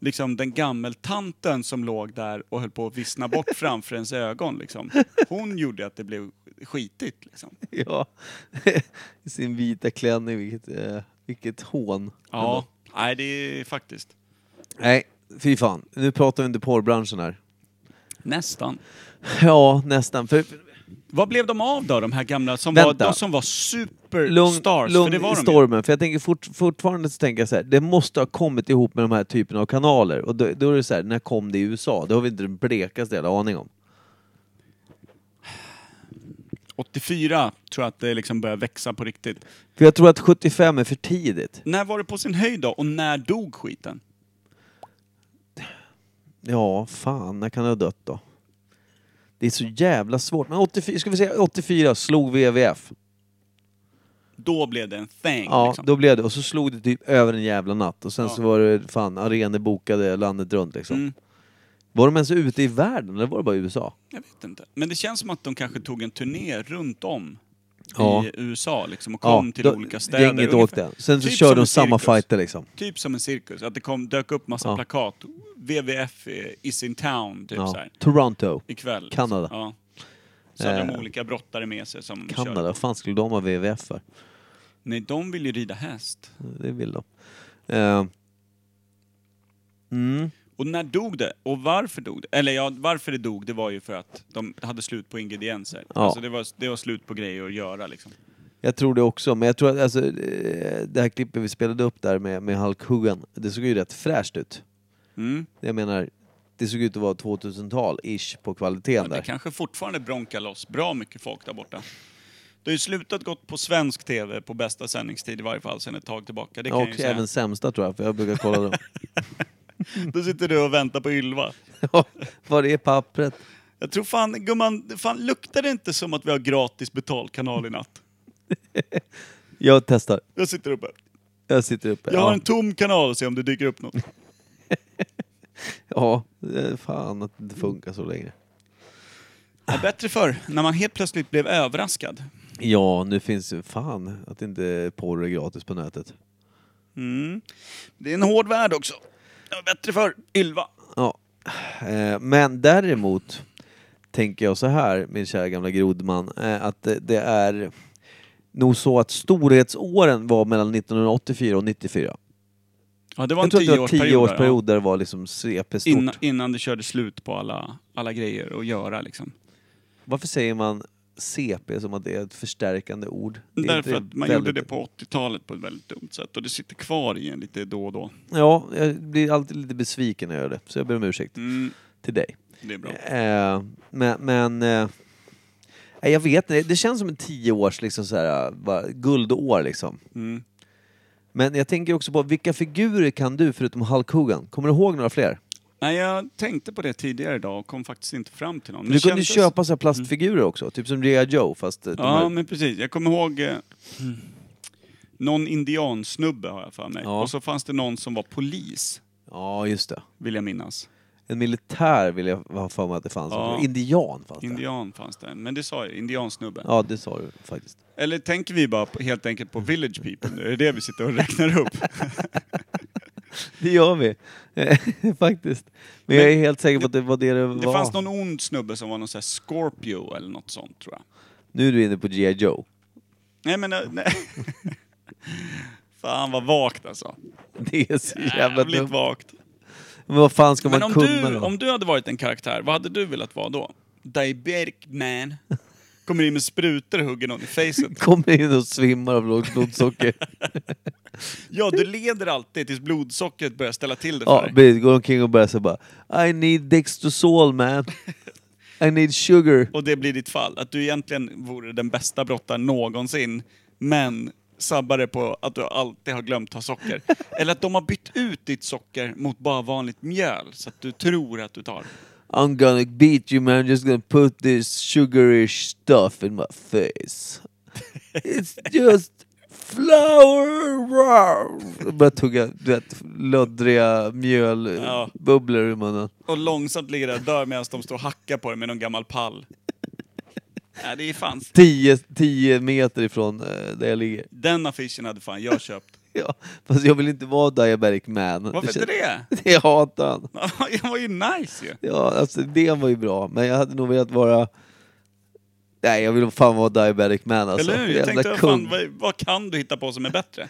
Speaker 2: liksom den gammeltanten som låg där och höll på att vissna bort framför ens ögon. Liksom. Hon gjorde att det blev skitigt. Liksom.
Speaker 1: <laughs> Ja. I sin vita klänning, vilket, eh, vilket hån.
Speaker 2: Ja, nej det är faktiskt
Speaker 1: Nej, fy fan. Nu pratar vi inte porrbranschen här.
Speaker 2: nästan.
Speaker 1: Ja, nästan. För,
Speaker 2: Vad blev de av då, de här gamla som, var,
Speaker 1: Vänta.
Speaker 2: de som var
Speaker 1: lugn
Speaker 2: superstars? för
Speaker 1: lugn
Speaker 2: det var
Speaker 1: i
Speaker 2: de ju.
Speaker 1: stormen. För jag tänker fort, fortfarande så tänker jag så här, det måste ha kommit ihop med de här typen av kanaler. Och då, då är det så här, när kom det i USA? Det har vi inte den blekaste jävla aning om.
Speaker 2: 84 tror jag att det liksom började växa på riktigt.
Speaker 1: För jag tror att 75 är för tidigt.
Speaker 2: När var det på sin höjd då och när dog skiten?
Speaker 1: Ja, fan, när kan det ha dött då? Det är så jävla svårt. Men 84, ska vi säga 84 slog WWF.
Speaker 2: Då blev det en thing
Speaker 1: Ja,
Speaker 2: liksom.
Speaker 1: då blev det. Och så slog det typ över en jävla natt. Och sen
Speaker 2: Ja.
Speaker 1: så var det fan arenor bokade landet runt liksom.
Speaker 2: Mm.
Speaker 1: Var de ens ute i världen eller var det bara i USA?
Speaker 2: Jag vet inte. Men det känns som att de kanske tog en turné runt om
Speaker 1: Ja.
Speaker 2: i USA liksom och kom till
Speaker 1: då-
Speaker 2: olika städer.
Speaker 1: Gänget
Speaker 2: Ungefär-
Speaker 1: åkte. Sen så
Speaker 2: typ
Speaker 1: körde
Speaker 2: som
Speaker 1: de
Speaker 2: en
Speaker 1: samma
Speaker 2: cirkus.
Speaker 1: fighter liksom.
Speaker 2: Typ som en cirkus, att det kom, dök upp massa
Speaker 1: Ja.
Speaker 2: plakat. WWF is in town, typ så
Speaker 1: Ja.
Speaker 2: här.
Speaker 1: Toronto.
Speaker 2: Ikväll.
Speaker 1: Kanada.
Speaker 2: Ja. Så hade de
Speaker 1: Eh.
Speaker 2: olika brottare med sig som
Speaker 1: Kanada,
Speaker 2: körde.
Speaker 1: vad fan skulle de ha WWF för?
Speaker 2: Nej, de vill ju rida häst.
Speaker 1: Det vill de. Eh, mm.
Speaker 2: Och när dog det? Och varför dog det? Eller ja, varför det dog, det var ju för att de hade slut på ingredienser.
Speaker 1: Ja.
Speaker 2: Alltså det var, det var slut på grejer att göra liksom.
Speaker 1: Jag tror det också, men jag tror att alltså, eh, det här klippet vi spelade upp där med, med Hulk Hogan, det såg ju rätt fräscht ut.
Speaker 2: Mm.
Speaker 1: Jag menar, det såg ut att vara 2000-tal-ish på kvaliteten
Speaker 2: Det
Speaker 1: där.
Speaker 2: kanske fortfarande bronkar loss bra mycket folk där borta. Det har ju slutat gått på svensk TV på bästa sändningstid i varje fall sedan ett tag tillbaka. Det kan jag
Speaker 1: Och
Speaker 2: ju säga.
Speaker 1: även sämsta tror jag, för jag brukar
Speaker 2: <laughs>
Speaker 1: kolla dem.
Speaker 2: Då sitter du och väntar på Ylva.
Speaker 1: Ja, Var är pappret?
Speaker 2: Jag tror fan, gumman, fan luktar det inte som att vi har gratis betalkanal i natt?
Speaker 1: Jag testar.
Speaker 2: Jag sitter uppe.
Speaker 1: Jag sitter uppe.
Speaker 2: Jag har
Speaker 1: Ja,
Speaker 2: en tom kanal och ser om det dyker
Speaker 1: <laughs>
Speaker 2: upp något.
Speaker 1: ja, eh, fan att det inte funkar så länge.
Speaker 2: Ja, bättre förr, när man helt plötsligt blev överraskad.
Speaker 1: Ja, nu finns ju fan att inte porr är gratis på nätet.
Speaker 2: Det är en hård värld också. Det var bättre förr. Ylva.
Speaker 1: Ja. Eh, Men däremot tänker jag så här, min kära gamla grodman, eh, att det- det är nog så att storhetsåren var mellan 1984 och 94.
Speaker 2: Ja, det var
Speaker 1: Jag
Speaker 2: en
Speaker 1: tror att det var
Speaker 2: tioårsperiod. där,
Speaker 1: tioårsperiod där det var liksom CP-stort.
Speaker 2: Ja. Innan, innan det körde slut på alla, alla grejer att göra liksom.
Speaker 1: Varför säger man CP som att det är ett förstärkande ord? Det är
Speaker 2: Därför
Speaker 1: inte
Speaker 2: att man
Speaker 1: väldigt-
Speaker 2: gjorde det på 80-talet på ett väldigt dumt sätt och det sitter kvar i en lite då och då.
Speaker 1: Ja, jag blir alltid lite besviken när jag gör det, så jag ber om ursäkt
Speaker 2: Mm,
Speaker 1: till dig.
Speaker 2: det är bra.
Speaker 1: Eh, men... men eh, nej, jag vet inte, det känns som en tioårs liksom så här, bara, guldår liksom.
Speaker 2: Mm.
Speaker 1: Men jag tänker också på, vilka figurer kan du förutom Hulk Hogan? Kommer du ihåg några fler?
Speaker 2: Nej, jag tänkte på det tidigare idag och kom faktiskt inte fram till någon.
Speaker 1: Du
Speaker 2: Det
Speaker 1: kunde ju
Speaker 2: kändes- Mm.
Speaker 1: köpa så här plastfigurer också, typ som G.I. Joe fast eh, de
Speaker 2: Ja,
Speaker 1: här, Mm.
Speaker 2: men precis. Jag kommer ihåg eh, någon indiansnubbe har jag för mig.
Speaker 1: Ja.
Speaker 2: Och så fanns det någon som var polis,
Speaker 1: ja just det.
Speaker 2: vill jag minnas.
Speaker 1: En militär vill jag ha för mig att det fanns.
Speaker 2: Ja.
Speaker 1: Indian fanns det.
Speaker 2: Indian fanns det, men det sa jag, indiansnubbe.
Speaker 1: Ja, det sa du faktiskt.
Speaker 2: Eller tänker vi bara på, helt enkelt på village people nu? Är det det vi sitter och räknar upp?
Speaker 1: Det gör vi. <laughs> faktiskt. Men, jag är helt säker på att det var det det var.
Speaker 2: Det fanns någon ond snubbe som var någon sån här Scorpio eller något sånt tror jag.
Speaker 1: Nu är du inne på G.I. Joe. <laughs>
Speaker 2: Nej men... eh, Nej. <laughs> Fan vad vagt alltså.
Speaker 1: Det är så jävla
Speaker 2: Jävligt
Speaker 1: dumt.
Speaker 2: vakt.
Speaker 1: Men vad fan ska
Speaker 2: Men
Speaker 1: man
Speaker 2: om
Speaker 1: kunna
Speaker 2: du,
Speaker 1: då?
Speaker 2: om du hade varit en karaktär, vad hade du velat vara då? Diabetic man. Kommer in med sprutor och hugger någon i
Speaker 1: <laughs>
Speaker 2: facet.
Speaker 1: Kommer in och svimmar av lågt
Speaker 2: <laughs>
Speaker 1: blodsocker.
Speaker 2: Ja, du leder alltid tills blodsockret börjar ställa till det för
Speaker 1: ja,
Speaker 2: dig.
Speaker 1: precis. Går omkring och börjar så bara I need Dextrosol man. I need sugar.
Speaker 2: Och det blir ditt fall. Att du egentligen vore den bästa brottaren någonsin, men sabbar det på att du alltid har glömt ta
Speaker 1: <laughs>
Speaker 2: socker. Eller att de har bytt ut ditt socker mot bara vanligt mjöl, så att du tror att du tar.
Speaker 1: I'm gonna beat you man, I'm just gonna put this sugarish stuff in my
Speaker 2: <laughs>
Speaker 1: face. It's just flour! Börjar tugga, du vet, löddriga
Speaker 2: Ja.
Speaker 1: mjölbubblor ur munnen.
Speaker 2: Och långsamt ligger där och dör medan de står och hackar på dig med någon gammal pall. Nej, det är fan...
Speaker 1: Tio, tio meter ifrån eh, där jag ligger.
Speaker 2: Den affischen hade fan jag köpt.
Speaker 1: Ja, fast jag vill inte vara diabetic man.
Speaker 2: Varför inte det? <laughs>
Speaker 1: känns- <laughs> Jag hatar han.
Speaker 2: Jag var ju nice ju.
Speaker 1: Ja, alltså det var ju bra, men jag hade nog velat vara... Nej, jag vill nog fan vara diabetic man alltså.
Speaker 2: Eller hur? Jag
Speaker 1: Jävla
Speaker 2: tänkte, vad
Speaker 1: kung.
Speaker 2: fan, vad, vad kan du hitta på som är bättre?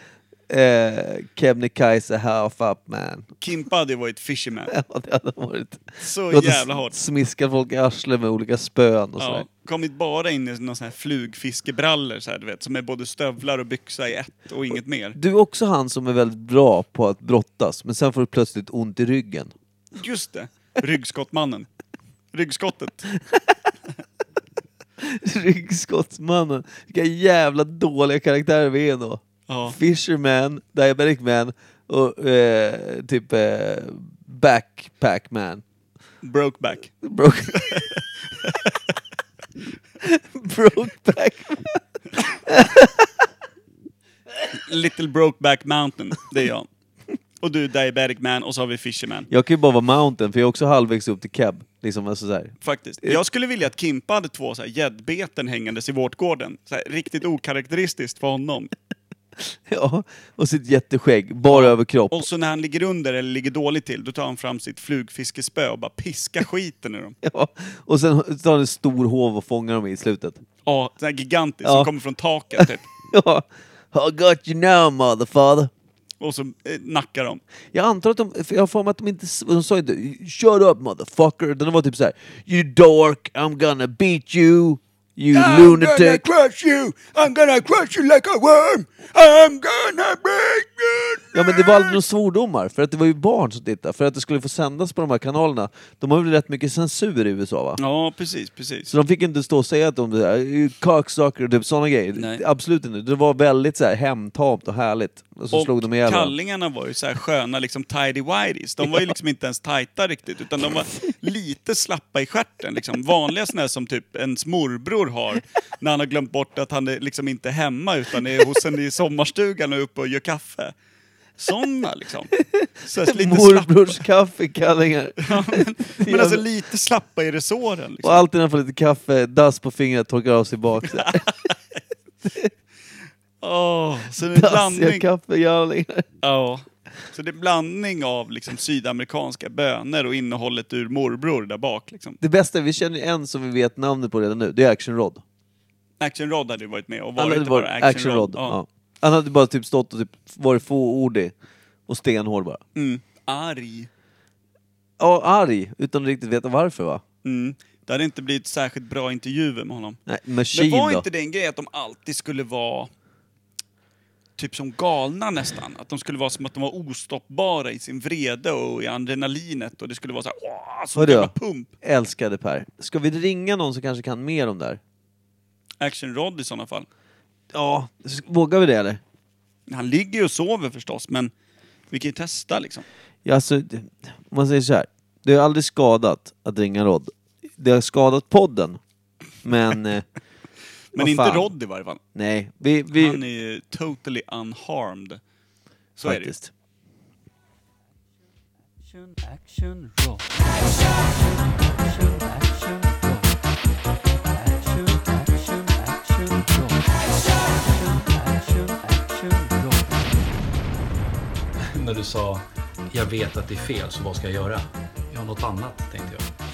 Speaker 1: eh, Kebnekaise half up man. <laughs>
Speaker 2: Kimpa hade ju varit fisherman.
Speaker 1: Ja, det hade varit.
Speaker 2: Så
Speaker 1: Gått och
Speaker 2: jävla hårt.
Speaker 1: Smiskat folk i arslet med olika spön och sådär.
Speaker 2: Ja, kommit bara in i någon sån här flugfiskebrallor så här, du vet, som är både stövlar och byxa i ett och inget mer.
Speaker 1: Du är också han som är väldigt bra på att brottas, men sen får du plötsligt ont i ryggen. <laughs>
Speaker 2: Just det! Ryggskottmannen. Ryggskottet.
Speaker 1: Ryggskottsmannen. Vilka jävla dåliga karaktärer vi är då.
Speaker 2: Ja.
Speaker 1: Fisherman, Diabetic Man och eh, typ eh, Backpack Man. <laughs>
Speaker 2: Brokeback.
Speaker 1: Broke... <laughs> Brokeback
Speaker 2: Little Brokeback Mountain, det är jag. och du är diabetic man och så har vi fisherman.
Speaker 1: Jag kan ju bara vara mountain, för jag är också halvvägs upp till cab. Liksom, alltså så här. <laughs>
Speaker 2: Faktiskt. Jag skulle vilja att Kimpa hade två så här gäddbeten hängandes i vårtgården. Så här, riktigt okaraktäristiskt för honom.
Speaker 1: Ja, och sitt jätteskägg, bara överkropp.
Speaker 2: Och så när han ligger under eller ligger dåligt till, då tar han fram sitt flugfiskespö och bara piskar skiten ur dem.
Speaker 1: Ja. Och sen <laughs> tar han en stor hov och fångar dem i slutet. <laughs>
Speaker 2: Ja, sån här gigantisk
Speaker 1: Ja.
Speaker 2: som kommer från taket typ.
Speaker 1: Ja. I got you now, motherfather.
Speaker 2: Och så eh, nackar de.
Speaker 1: Jag antar att de, för jag har för mig att de inte, s- de sa inte Shut up motherfucker, utan de var typ så här: You dork, I'm gonna beat you, you lunatic.
Speaker 2: crush you! I'm gonna crush you like a worm! I'm gonna break you!
Speaker 1: Ja men det var aldrig några svordomar, för att det var ju barn som tittade, för att det skulle få sändas på de här kanalerna. De har väl rätt mycket censur i USA va?
Speaker 2: Ja, precis, precis.
Speaker 1: Så de fick inte stå och säga att de är cocksucker och typ sådana grejer.
Speaker 2: Nej.
Speaker 1: Absolut inte. Det var väldigt så här hemtamt och härligt. Och så slog de ihjäl varandra.
Speaker 2: kallingarna var ju så här sköna liksom tidy whities De var ju liksom inte ens tajta riktigt, utan de var lite slappa i stjärten. Liksom. Vanliga såna här som typ ens morbror har, när han har glömt bort att han är liksom inte är hemma utan är hos en i sommarstugan och är uppe och gör kaffe. Såna liksom. Så här, lite slappa.
Speaker 1: Morbrors kaffekallingar.
Speaker 2: Men alltså lite slappa i resåren.
Speaker 1: Och
Speaker 2: Liksom.
Speaker 1: alltid när han får lite kaffe, dass på fingret, torkar av sig bak.
Speaker 2: <laughs>
Speaker 1: så här.
Speaker 2: Åh, så det är en
Speaker 1: Dassiga
Speaker 2: blandning.
Speaker 1: kaffegärlingar.
Speaker 2: Ja. Så det är en blandning av liksom sydamerikanska böner och innehållet ur morbror där bak. Liksom.
Speaker 1: Det bästa, vi känner ju en som vi vet namnet på redan nu, det är Action Rod.
Speaker 2: Action Rod hade ju varit med och
Speaker 1: Han
Speaker 2: varit
Speaker 1: hade, varit
Speaker 2: bara
Speaker 1: action Rod. Ja. han hade bara typ stått och typ varit fåordig och stenhård bara.
Speaker 2: Mm. Arg.
Speaker 1: Ja, arg, utan att riktigt veta varför va?
Speaker 2: Mm. Det hade inte blivit särskilt bra intervjuer med honom.
Speaker 1: Nej,
Speaker 2: Men
Speaker 1: Machine
Speaker 2: var
Speaker 1: då.
Speaker 2: inte det en grej att de alltid skulle vara typ som galna nästan? Att de skulle vara som att de var ostoppbara i sin vrede och i adrenalinet och det skulle vara så här, åh, som en
Speaker 1: Hörru.
Speaker 2: jävla pump.
Speaker 1: Älskade Per. Ska vi ringa någon som kanske kan mer om det här?
Speaker 2: Action Rod i sådana fall.
Speaker 1: Ja, s- vågar vi det eller?
Speaker 2: Han ligger ju och sover förstås, men vi kan ju testa liksom.
Speaker 1: Ja, alltså, det- om man säger så här. Det har aldrig skadat att ringa Rod. Det har skadat podden. Men...
Speaker 2: <laughs>
Speaker 1: eh,
Speaker 2: Men
Speaker 1: vad
Speaker 2: inte
Speaker 1: fan.
Speaker 2: Rod i varje fall.
Speaker 1: Nej, vi... vi
Speaker 2: Han är ju totally unharmed. Så är det ju.
Speaker 1: faktiskt.
Speaker 5: När du sa jag vet att det är fel, så vad ska jag göra? Jag har något annat, tänkte jag.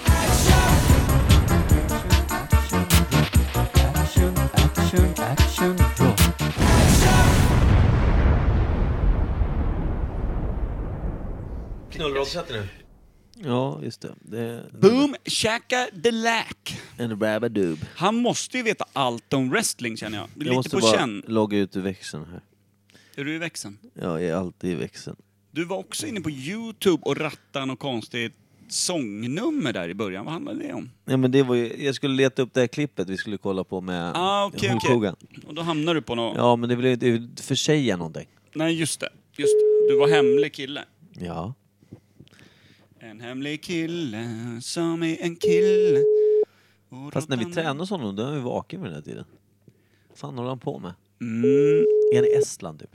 Speaker 1: Ja, just det. det
Speaker 2: Boom Shaka Delac.
Speaker 1: en rabadoob.
Speaker 2: Han måste ju veta allt om wrestling känner jag.
Speaker 1: Jag
Speaker 2: Lite
Speaker 1: måste
Speaker 2: på
Speaker 1: bara
Speaker 2: känn.
Speaker 1: logga ut ur växeln här.
Speaker 2: Är du i växeln?
Speaker 1: Jag är alltid i växeln.
Speaker 2: Du var också inne på Youtube och rattade något konstigt sångnummer där i början. Vad handlade det om?
Speaker 1: Nej, men det var ju, jag skulle leta upp det här klippet vi skulle kolla på med
Speaker 2: Ah, okej,
Speaker 1: Hulk
Speaker 2: okej.
Speaker 1: Hogan.
Speaker 2: Och då hamnade du på något...
Speaker 1: Ja, men det vill jag inte försäga någonting.
Speaker 2: Nej, just det. Just det. Du var hemlig kille.
Speaker 1: Ja.
Speaker 2: En hemlig kille som är en kille. Och
Speaker 1: Fast när vi
Speaker 2: råttan-
Speaker 1: tränade hos honom, då var vi vaken vid den här tiden. Vad fan håller han på med?
Speaker 2: Mm.
Speaker 1: Är han i Estland typ?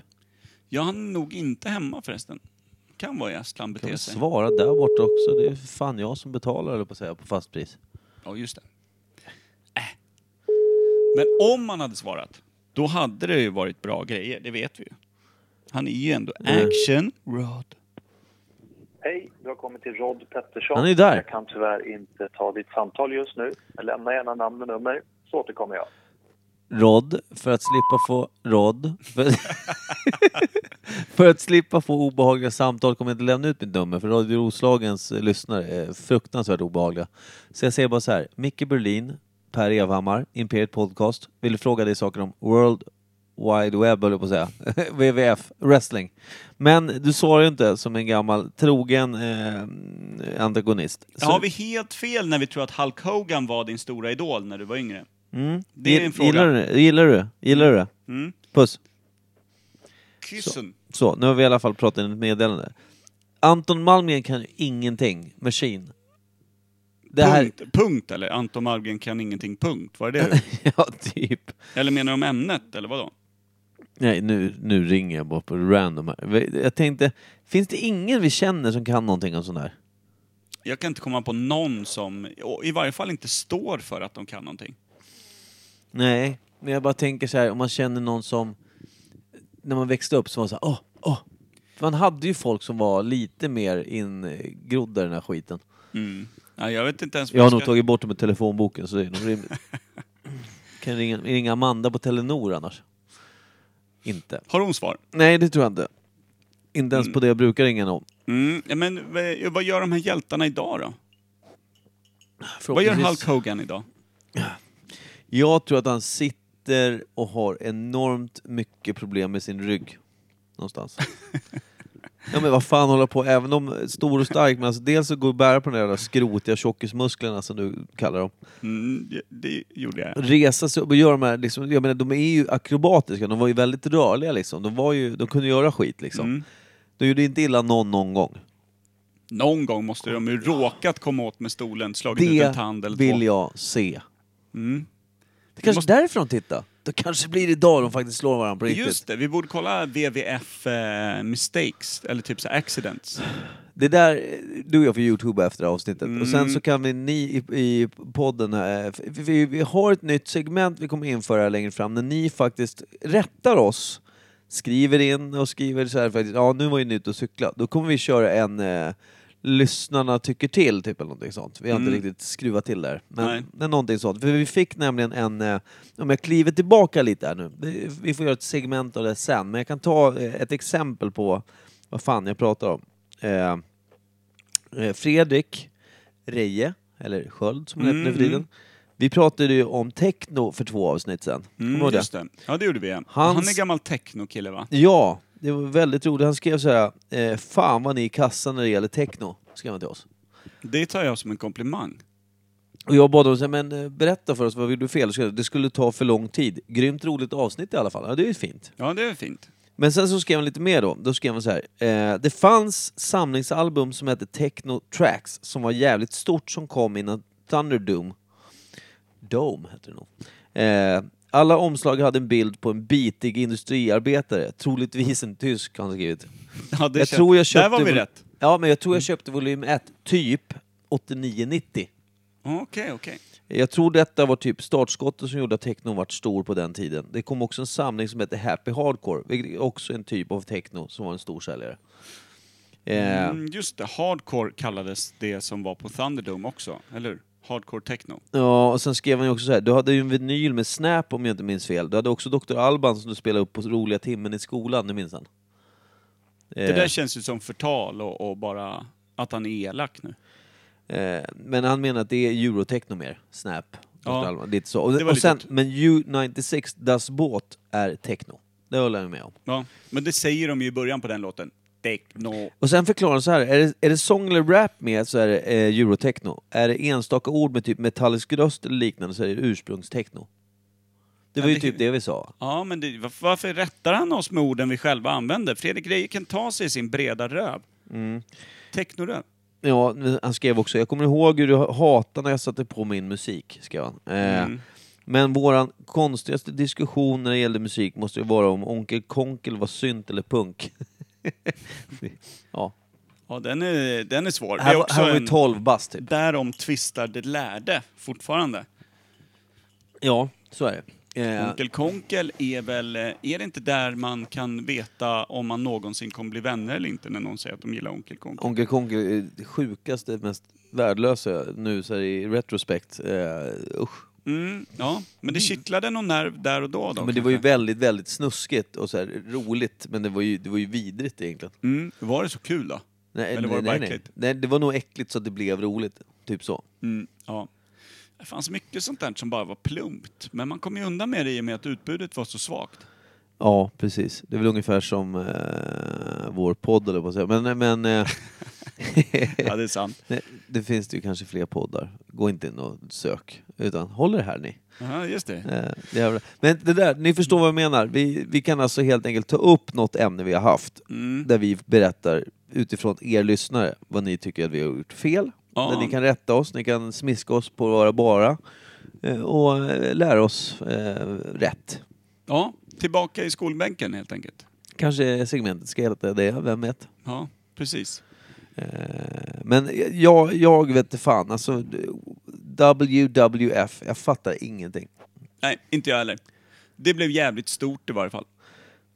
Speaker 2: Jag hann nog inte hemma förresten. Kan vara i Estland
Speaker 1: Kan
Speaker 2: bete
Speaker 1: vi
Speaker 2: sig.
Speaker 1: svara där borta också? Det är för fan jag som betalar, eller på att säga, på fast pris.
Speaker 2: Ja, just det. Äh. Men om han hade svarat, då hade det ju varit bra grejer, det vet vi ju. Han är ju ändå action rod.
Speaker 6: Hej, du har kommit till Rod Pettersson.
Speaker 1: Han är ju där.
Speaker 6: Jag kan tyvärr inte ta ditt samtal just nu. Lämna gärna namn och nummer, så återkommer jag.
Speaker 1: Rod, för att slippa få... Rod. För, <laughs> för att slippa få obehagliga samtal kommer jag inte lämna ut mitt nummer, för Radio Roslagens eh, lyssnare är fruktansvärt obehagliga. Så jag säger bara så här, Micke Berlin, Per Evhammar, Imperiet Podcast, vill fråga dig saker om World Wide Web, höll jag på att säga. <laughs> WWF, wrestling. Men du svarar ju inte som en gammal trogen eh, antagonist. Så-
Speaker 2: Har vi helt fel när vi tror att Hulk Hogan var din stora idol när du var yngre?
Speaker 1: mm,
Speaker 2: det är en fråga.
Speaker 1: Gillar du det? Gillar du det? Gillar du det?
Speaker 2: Mm.
Speaker 1: Puss.
Speaker 2: Kyssen.
Speaker 1: Så, nu har vi i alla fall pratat in ett meddelande. Anton Malmgren kan ju ingenting. Machine. Det här...
Speaker 2: Punkt, punkt eller? Anton Malmgren kan ingenting punkt, var det det?
Speaker 1: <laughs> ja, typ.
Speaker 2: eller menar du om ämnet eller vadå?
Speaker 1: Nej, nu, nu ringer jag bara på random här. Jag tänkte, finns det ingen vi känner som kan någonting om sånt här?
Speaker 2: Jag kan inte komma på någon som, och i varje fall inte står för att de kan någonting.
Speaker 1: Nej, men jag bara tänker så här, om man känner någon som... När man växte upp så var det så här, åh, åh. För Man hade ju folk som var lite mer ingrodda i den här skiten.
Speaker 2: Mm. Ja, jag vet inte ens vad
Speaker 1: Jag har
Speaker 2: jag
Speaker 1: nog
Speaker 2: ska-
Speaker 1: tagit bort dem i telefonboken så det är nog
Speaker 2: <laughs>
Speaker 1: rimligt. kan jag ringa, ringa Amanda på Telenor annars? Inte.
Speaker 2: Har hon svar?
Speaker 1: Nej, det tror jag inte. Inte ens på det jag brukar ringa någon.
Speaker 2: Mm. Ja, men vad- vad gör de här hjältarna idag då? Vad gör Hulk Hogan idag?
Speaker 1: Jag tror att han sitter och har enormt mycket problem med sin rygg.
Speaker 2: <laughs>
Speaker 1: Någonstans. ja men vad fan håller jag på, även om stor och stark, men alltså dels så går det att bära på de där jävla skrotiga tjockismusklerna som du kallar dem.
Speaker 2: Mm, det- det gjorde jag.
Speaker 1: Resa sig upp och göra de här, liksom, jag menar de är ju akrobatiska, de var ju väldigt rörliga liksom. De, var ju, de kunde göra skit liksom.
Speaker 2: Mm.
Speaker 1: De gjorde inte illa någon någon gång.
Speaker 2: Någon gång måste de ju råkat komma åt med stolen, slagit ut en tand
Speaker 1: Det
Speaker 2: eller
Speaker 1: vill
Speaker 2: två.
Speaker 1: jag se.
Speaker 2: Mm.
Speaker 1: Det kanske är
Speaker 2: måste-
Speaker 1: därför de tittar. Det kanske blir idag de faktiskt slår varandra på riktigt.
Speaker 2: Just det, vi borde kolla WWF eh, mistakes, eller typ så här accidents.
Speaker 1: Det där, eh, du och jag får youtuba efter det här avsnittet.
Speaker 2: Mm.
Speaker 1: Och sen så kan vi, ni i, i podden här, eh, f- vi, vi har ett nytt segment vi kommer införa här längre fram, när ni faktiskt rättar oss. Skriver in och skriver så här faktiskt, ja nu var ju ni ute och cykla. Då kommer vi köra en eh, lyssnarna tycker till, typ eller någonting sånt. Vi har inte
Speaker 2: Mm.
Speaker 1: riktigt skruvat till där.
Speaker 2: Nej.
Speaker 1: Men, men någonting sånt. För vi fick nämligen en, eh, om jag kliver tillbaka lite här nu, vi- vi får göra ett segment av det sen, men jag kan ta eh, ett exempel på vad fan jag pratar om. Eh, eh, Fredrik Reje, eller Sköld som han heter nu för
Speaker 2: Mm,
Speaker 1: tiden. Vi pratade ju om techno för två avsnitt sen. Kommer du
Speaker 2: Mm,
Speaker 1: ihåg det?
Speaker 2: just det. Ja, det gjorde vi. ja.
Speaker 1: Hans-
Speaker 2: Han är gammal techno-kille va?
Speaker 1: Ja, det var väldigt roligt. Han skrev så här, eh, fan vad ni är i kassan när det gäller techno, skrev han till oss.
Speaker 2: Det tar jag som en komplimang.
Speaker 1: Och jag bad honom säga, men eh, berätta för oss vad vi gjorde fel. Så Det skulle ta för lång tid. Grymt roligt avsnitt i alla fall. Ja, det är ju fint.
Speaker 2: Ja, det är fint.
Speaker 1: Men sen så skrev han lite mer då. Då skrev han så här. Eh, det fanns samlingsalbum som hette Techno Tracks som var jävligt stort som kom innan Thunderdome. Dome hette det nog. Eh, alla omslag hade en bild på en bitig industriarbetare, troligtvis en tysk har han skrivit.
Speaker 2: Ja, det
Speaker 1: jag
Speaker 2: kän-
Speaker 1: tror jag köpte...
Speaker 2: Där var vi
Speaker 1: vo-
Speaker 2: rätt.
Speaker 1: Ja, men jag tror jag köpte volym 1, typ 89-90.
Speaker 2: Okej, okej.
Speaker 1: Jag tror detta var typ startskottet som gjorde att techno vart stor på den tiden. Det kom också en samling som hette Happy Hardcore, vilket är också en typ av techno som var en stor säljare. Eh,
Speaker 2: Mm, just det, hardcore kallades det som var på Thunderdome också, eller hur? Hardcore techno.
Speaker 1: Ja, och sen skrev han ju också så här. du hade ju en vinyl med Snap om jag inte minns fel. Du hade också Dr. Alban som du spelade upp på roliga timmen i skolan, det minns han.
Speaker 2: Det
Speaker 1: Eh,
Speaker 2: där känns ju som förtal och, och bara att han är elak nu.
Speaker 1: Eh, men han menar att det är eurotechno mer, Snap. Dr.
Speaker 2: Ja.
Speaker 1: Alban, lite så. Och,
Speaker 2: Det var
Speaker 1: och
Speaker 2: lite
Speaker 1: sen,
Speaker 2: åt-
Speaker 1: men U96 Das Båt är techno. Det håller jag med om.
Speaker 2: Ja, men det säger de ju i början på den låten. Techno.
Speaker 1: Och sen förklarar han så här, är det, är det sång eller rap med så är det eh, eurotechno. Är det enstaka ord med typ metallisk röst eller liknande så är det ursprungstechno. Det var
Speaker 2: Ja,
Speaker 1: ju
Speaker 2: det-
Speaker 1: typ det vi sa.
Speaker 2: Ja, men det, varför, varför rättar han oss med orden vi själva använder? Fredrik Reje kan ta sig sin breda röv.
Speaker 1: Mm.
Speaker 2: Technoröv.
Speaker 1: Ja, men han skrev också, jag kommer ihåg hur du hatade när jag satte på min musik, skrev han. Eh,
Speaker 2: Mm.
Speaker 1: Men våran konstigaste diskussion när det gällde musik måste ju vara om Onkel Konkel var synt eller punk. <laughs> ja,
Speaker 2: Ja, den är, den är svår. det
Speaker 1: här,
Speaker 2: är
Speaker 1: var-
Speaker 2: också
Speaker 1: här var ju
Speaker 2: en-
Speaker 1: 12 bast typ.
Speaker 2: Därom tvistar det lärde fortfarande.
Speaker 1: Ja, så är det. Eh,
Speaker 2: Onkel Konkel är väl, eh, är det inte där man kan veta om man någonsin kommer bli vänner eller inte när någon säger att de gillar Onkel Konkel?
Speaker 1: Onkel Konkel är det sjukaste, mest värdelösa nu så här i retrospekt. Eh, usch.
Speaker 2: Mm, ja, men det kittlade någon nerv där och då. då
Speaker 1: Men det var ju
Speaker 2: kanske.
Speaker 1: väldigt, väldigt snuskigt och så här roligt, men det var ju, det var ju vidrigt egentligen.
Speaker 2: mm, var det så kul då?
Speaker 1: Nej,
Speaker 2: Eller
Speaker 1: nej,
Speaker 2: var det bara
Speaker 1: nej, nej.
Speaker 2: äckligt?
Speaker 1: nej, det var nog äckligt så att det blev roligt. Typ så.
Speaker 2: Mm, ja. Det fanns mycket sånt där som bara var plumpt, men man kom ju undan med det i och med att utbudet var så svagt.
Speaker 1: Ja, precis. Det är väl ungefär som eh, vår podd, eller på att säga. Men, men eh, <laughs>
Speaker 2: Ja, det är sant.
Speaker 1: nej, det finns det ju kanske fler poddar. Gå inte in och sök, utan håll er här ni.
Speaker 2: Ja, just det.
Speaker 1: Eh, det är väl- Men det där, ni förstår vad jag menar. Vi, vi kan alltså helt enkelt ta upp något ämne vi har haft,
Speaker 2: Mm.
Speaker 1: där vi berättar utifrån er lyssnare vad ni tycker att vi har gjort fel.
Speaker 2: Ja.
Speaker 1: Där ni kan rätta oss, ni kan smiska oss på våra bara eh, och eh, lära oss eh, rätt.
Speaker 2: Ja, Tillbaka i skolbänken helt enkelt.
Speaker 1: Kanske segmentet ska heta det, vem vet?
Speaker 2: Ja, precis.
Speaker 1: Eh, Men jag, jag vet inte fan, alltså WWF, jag fattar ingenting.
Speaker 2: Nej, inte jag heller. Det blev jävligt stort i varje fall.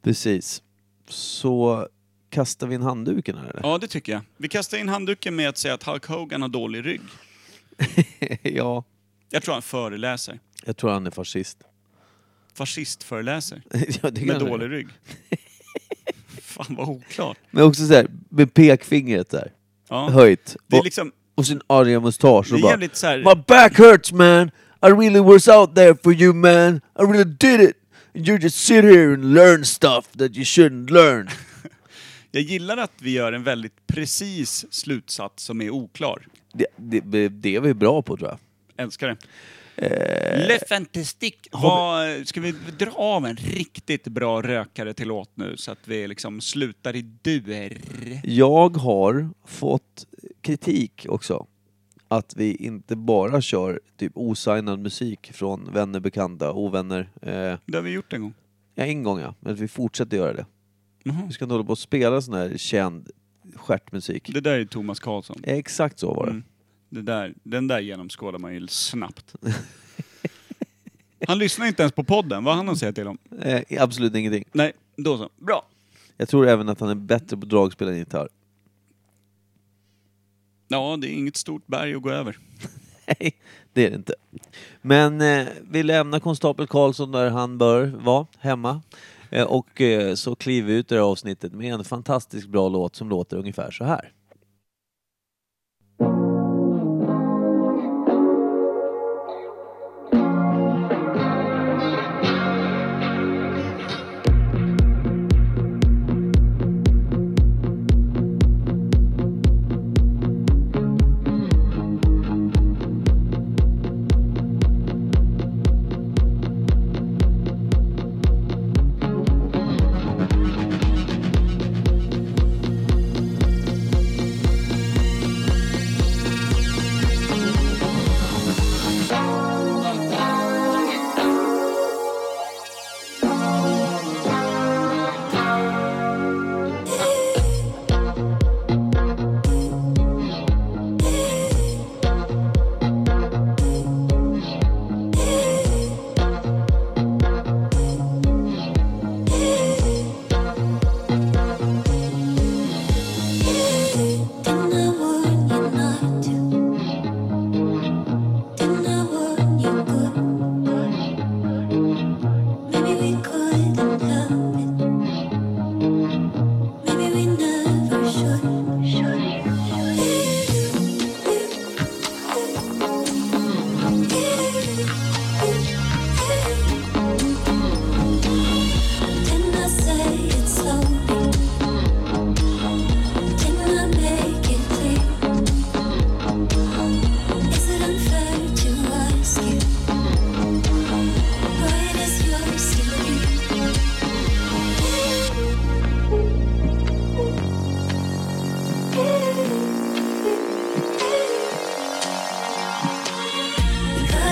Speaker 1: Precis. Så kastar vi in handduken här eller?
Speaker 2: Ja, det tycker jag. Vi kastar in handduken med att säga att Hulk Hogan har dålig rygg.
Speaker 1: ja.
Speaker 2: Jag tror han föreläser.
Speaker 1: Jag tror han är fascist. <laughs>
Speaker 2: Fascistföreläser.
Speaker 1: ja, det
Speaker 2: Med
Speaker 1: kanske-
Speaker 2: dålig rygg. Fan vad oklart.
Speaker 1: Men också såhär, med pekfingret där.
Speaker 2: Ja.
Speaker 1: Höjt.
Speaker 2: Det är
Speaker 1: Och-
Speaker 2: liksom,
Speaker 1: och sin arga mustasch
Speaker 2: det
Speaker 1: och
Speaker 2: är
Speaker 1: bara
Speaker 2: jävligt så här,
Speaker 1: My back hurts man! I really was out there for you man! I really did it! And You just sit here and learn stuff that you shouldn't learn.
Speaker 2: jag gillar att vi gör en väldigt precis slutsats som är oklar.
Speaker 1: Det, det, det är vi bra på tror jag.
Speaker 2: Älskar det. Le Fantastique. Vad, ska Eh. vi dra av en riktigt bra rökare till låt nu så att vi liksom slutar i duer?
Speaker 1: Jag har fått kritik också. Att vi inte bara kör typ osignad musik från vänner, bekanta, ovänner. Eh,
Speaker 2: Det har vi gjort en gång.
Speaker 1: ja, en gång ja. Men att vi fortsätter göra det.
Speaker 2: Mhm.
Speaker 1: Vi ska inte hålla på och spela sån här känd stjärtmusik.
Speaker 2: Det där är Thomas Karlsson.
Speaker 1: Exakt så var det.
Speaker 2: Mm. Det där, den där genomskådar man ju snabbt. Han lyssnar inte ens på podden, vad har han att säga till om?
Speaker 1: Eh, absolut ingenting.
Speaker 2: Nej, då så. Bra.
Speaker 1: Jag tror även att han är bättre på dragspel än gitarr. <laughs>
Speaker 2: Ja, det är inget stort berg att gå över.
Speaker 1: Nej, det är det inte. Men eh, vi lämnar konstapel Karlsson där han bör vara, hemma. Eh, och eh, så kliver vi ut det här avsnittet med en fantastiskt bra låt som låter ungefär så här.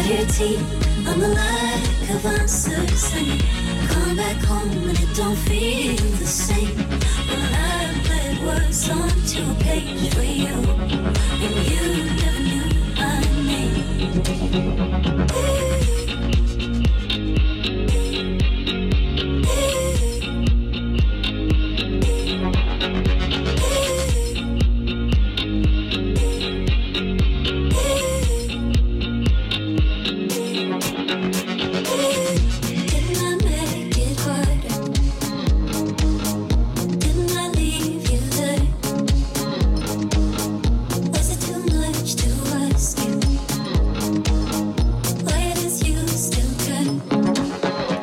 Speaker 3: your teeth on the lack of answers and you come back home and it don't feel the same. Well, I bled words onto a page for you, and you never knew my name. Didn't I make it harder? Didn't I leave you there? Was it too much to ask you? Why does you still care?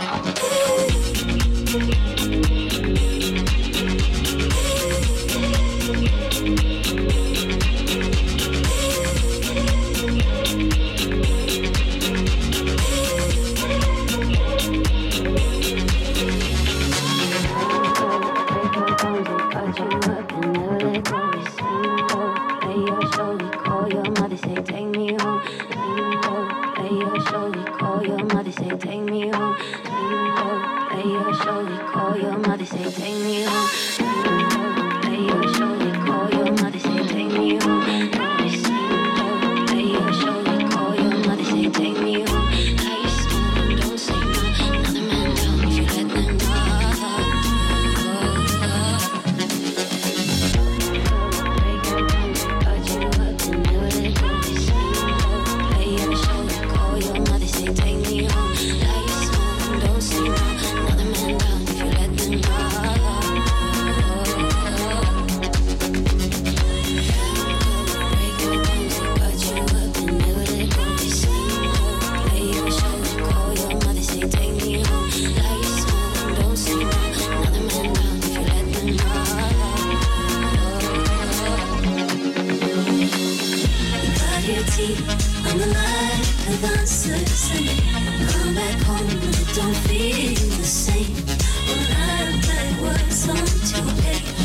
Speaker 7: say take me home. Don't play your show, you call your mother, say take me home. Always sing, don't play your show, you call your mother, say take me home. I smoke, don't say no. Another man told me you let them go. I'm the light of uncertainty. Come back home and it don't feel the same. Well, I play words on to paper.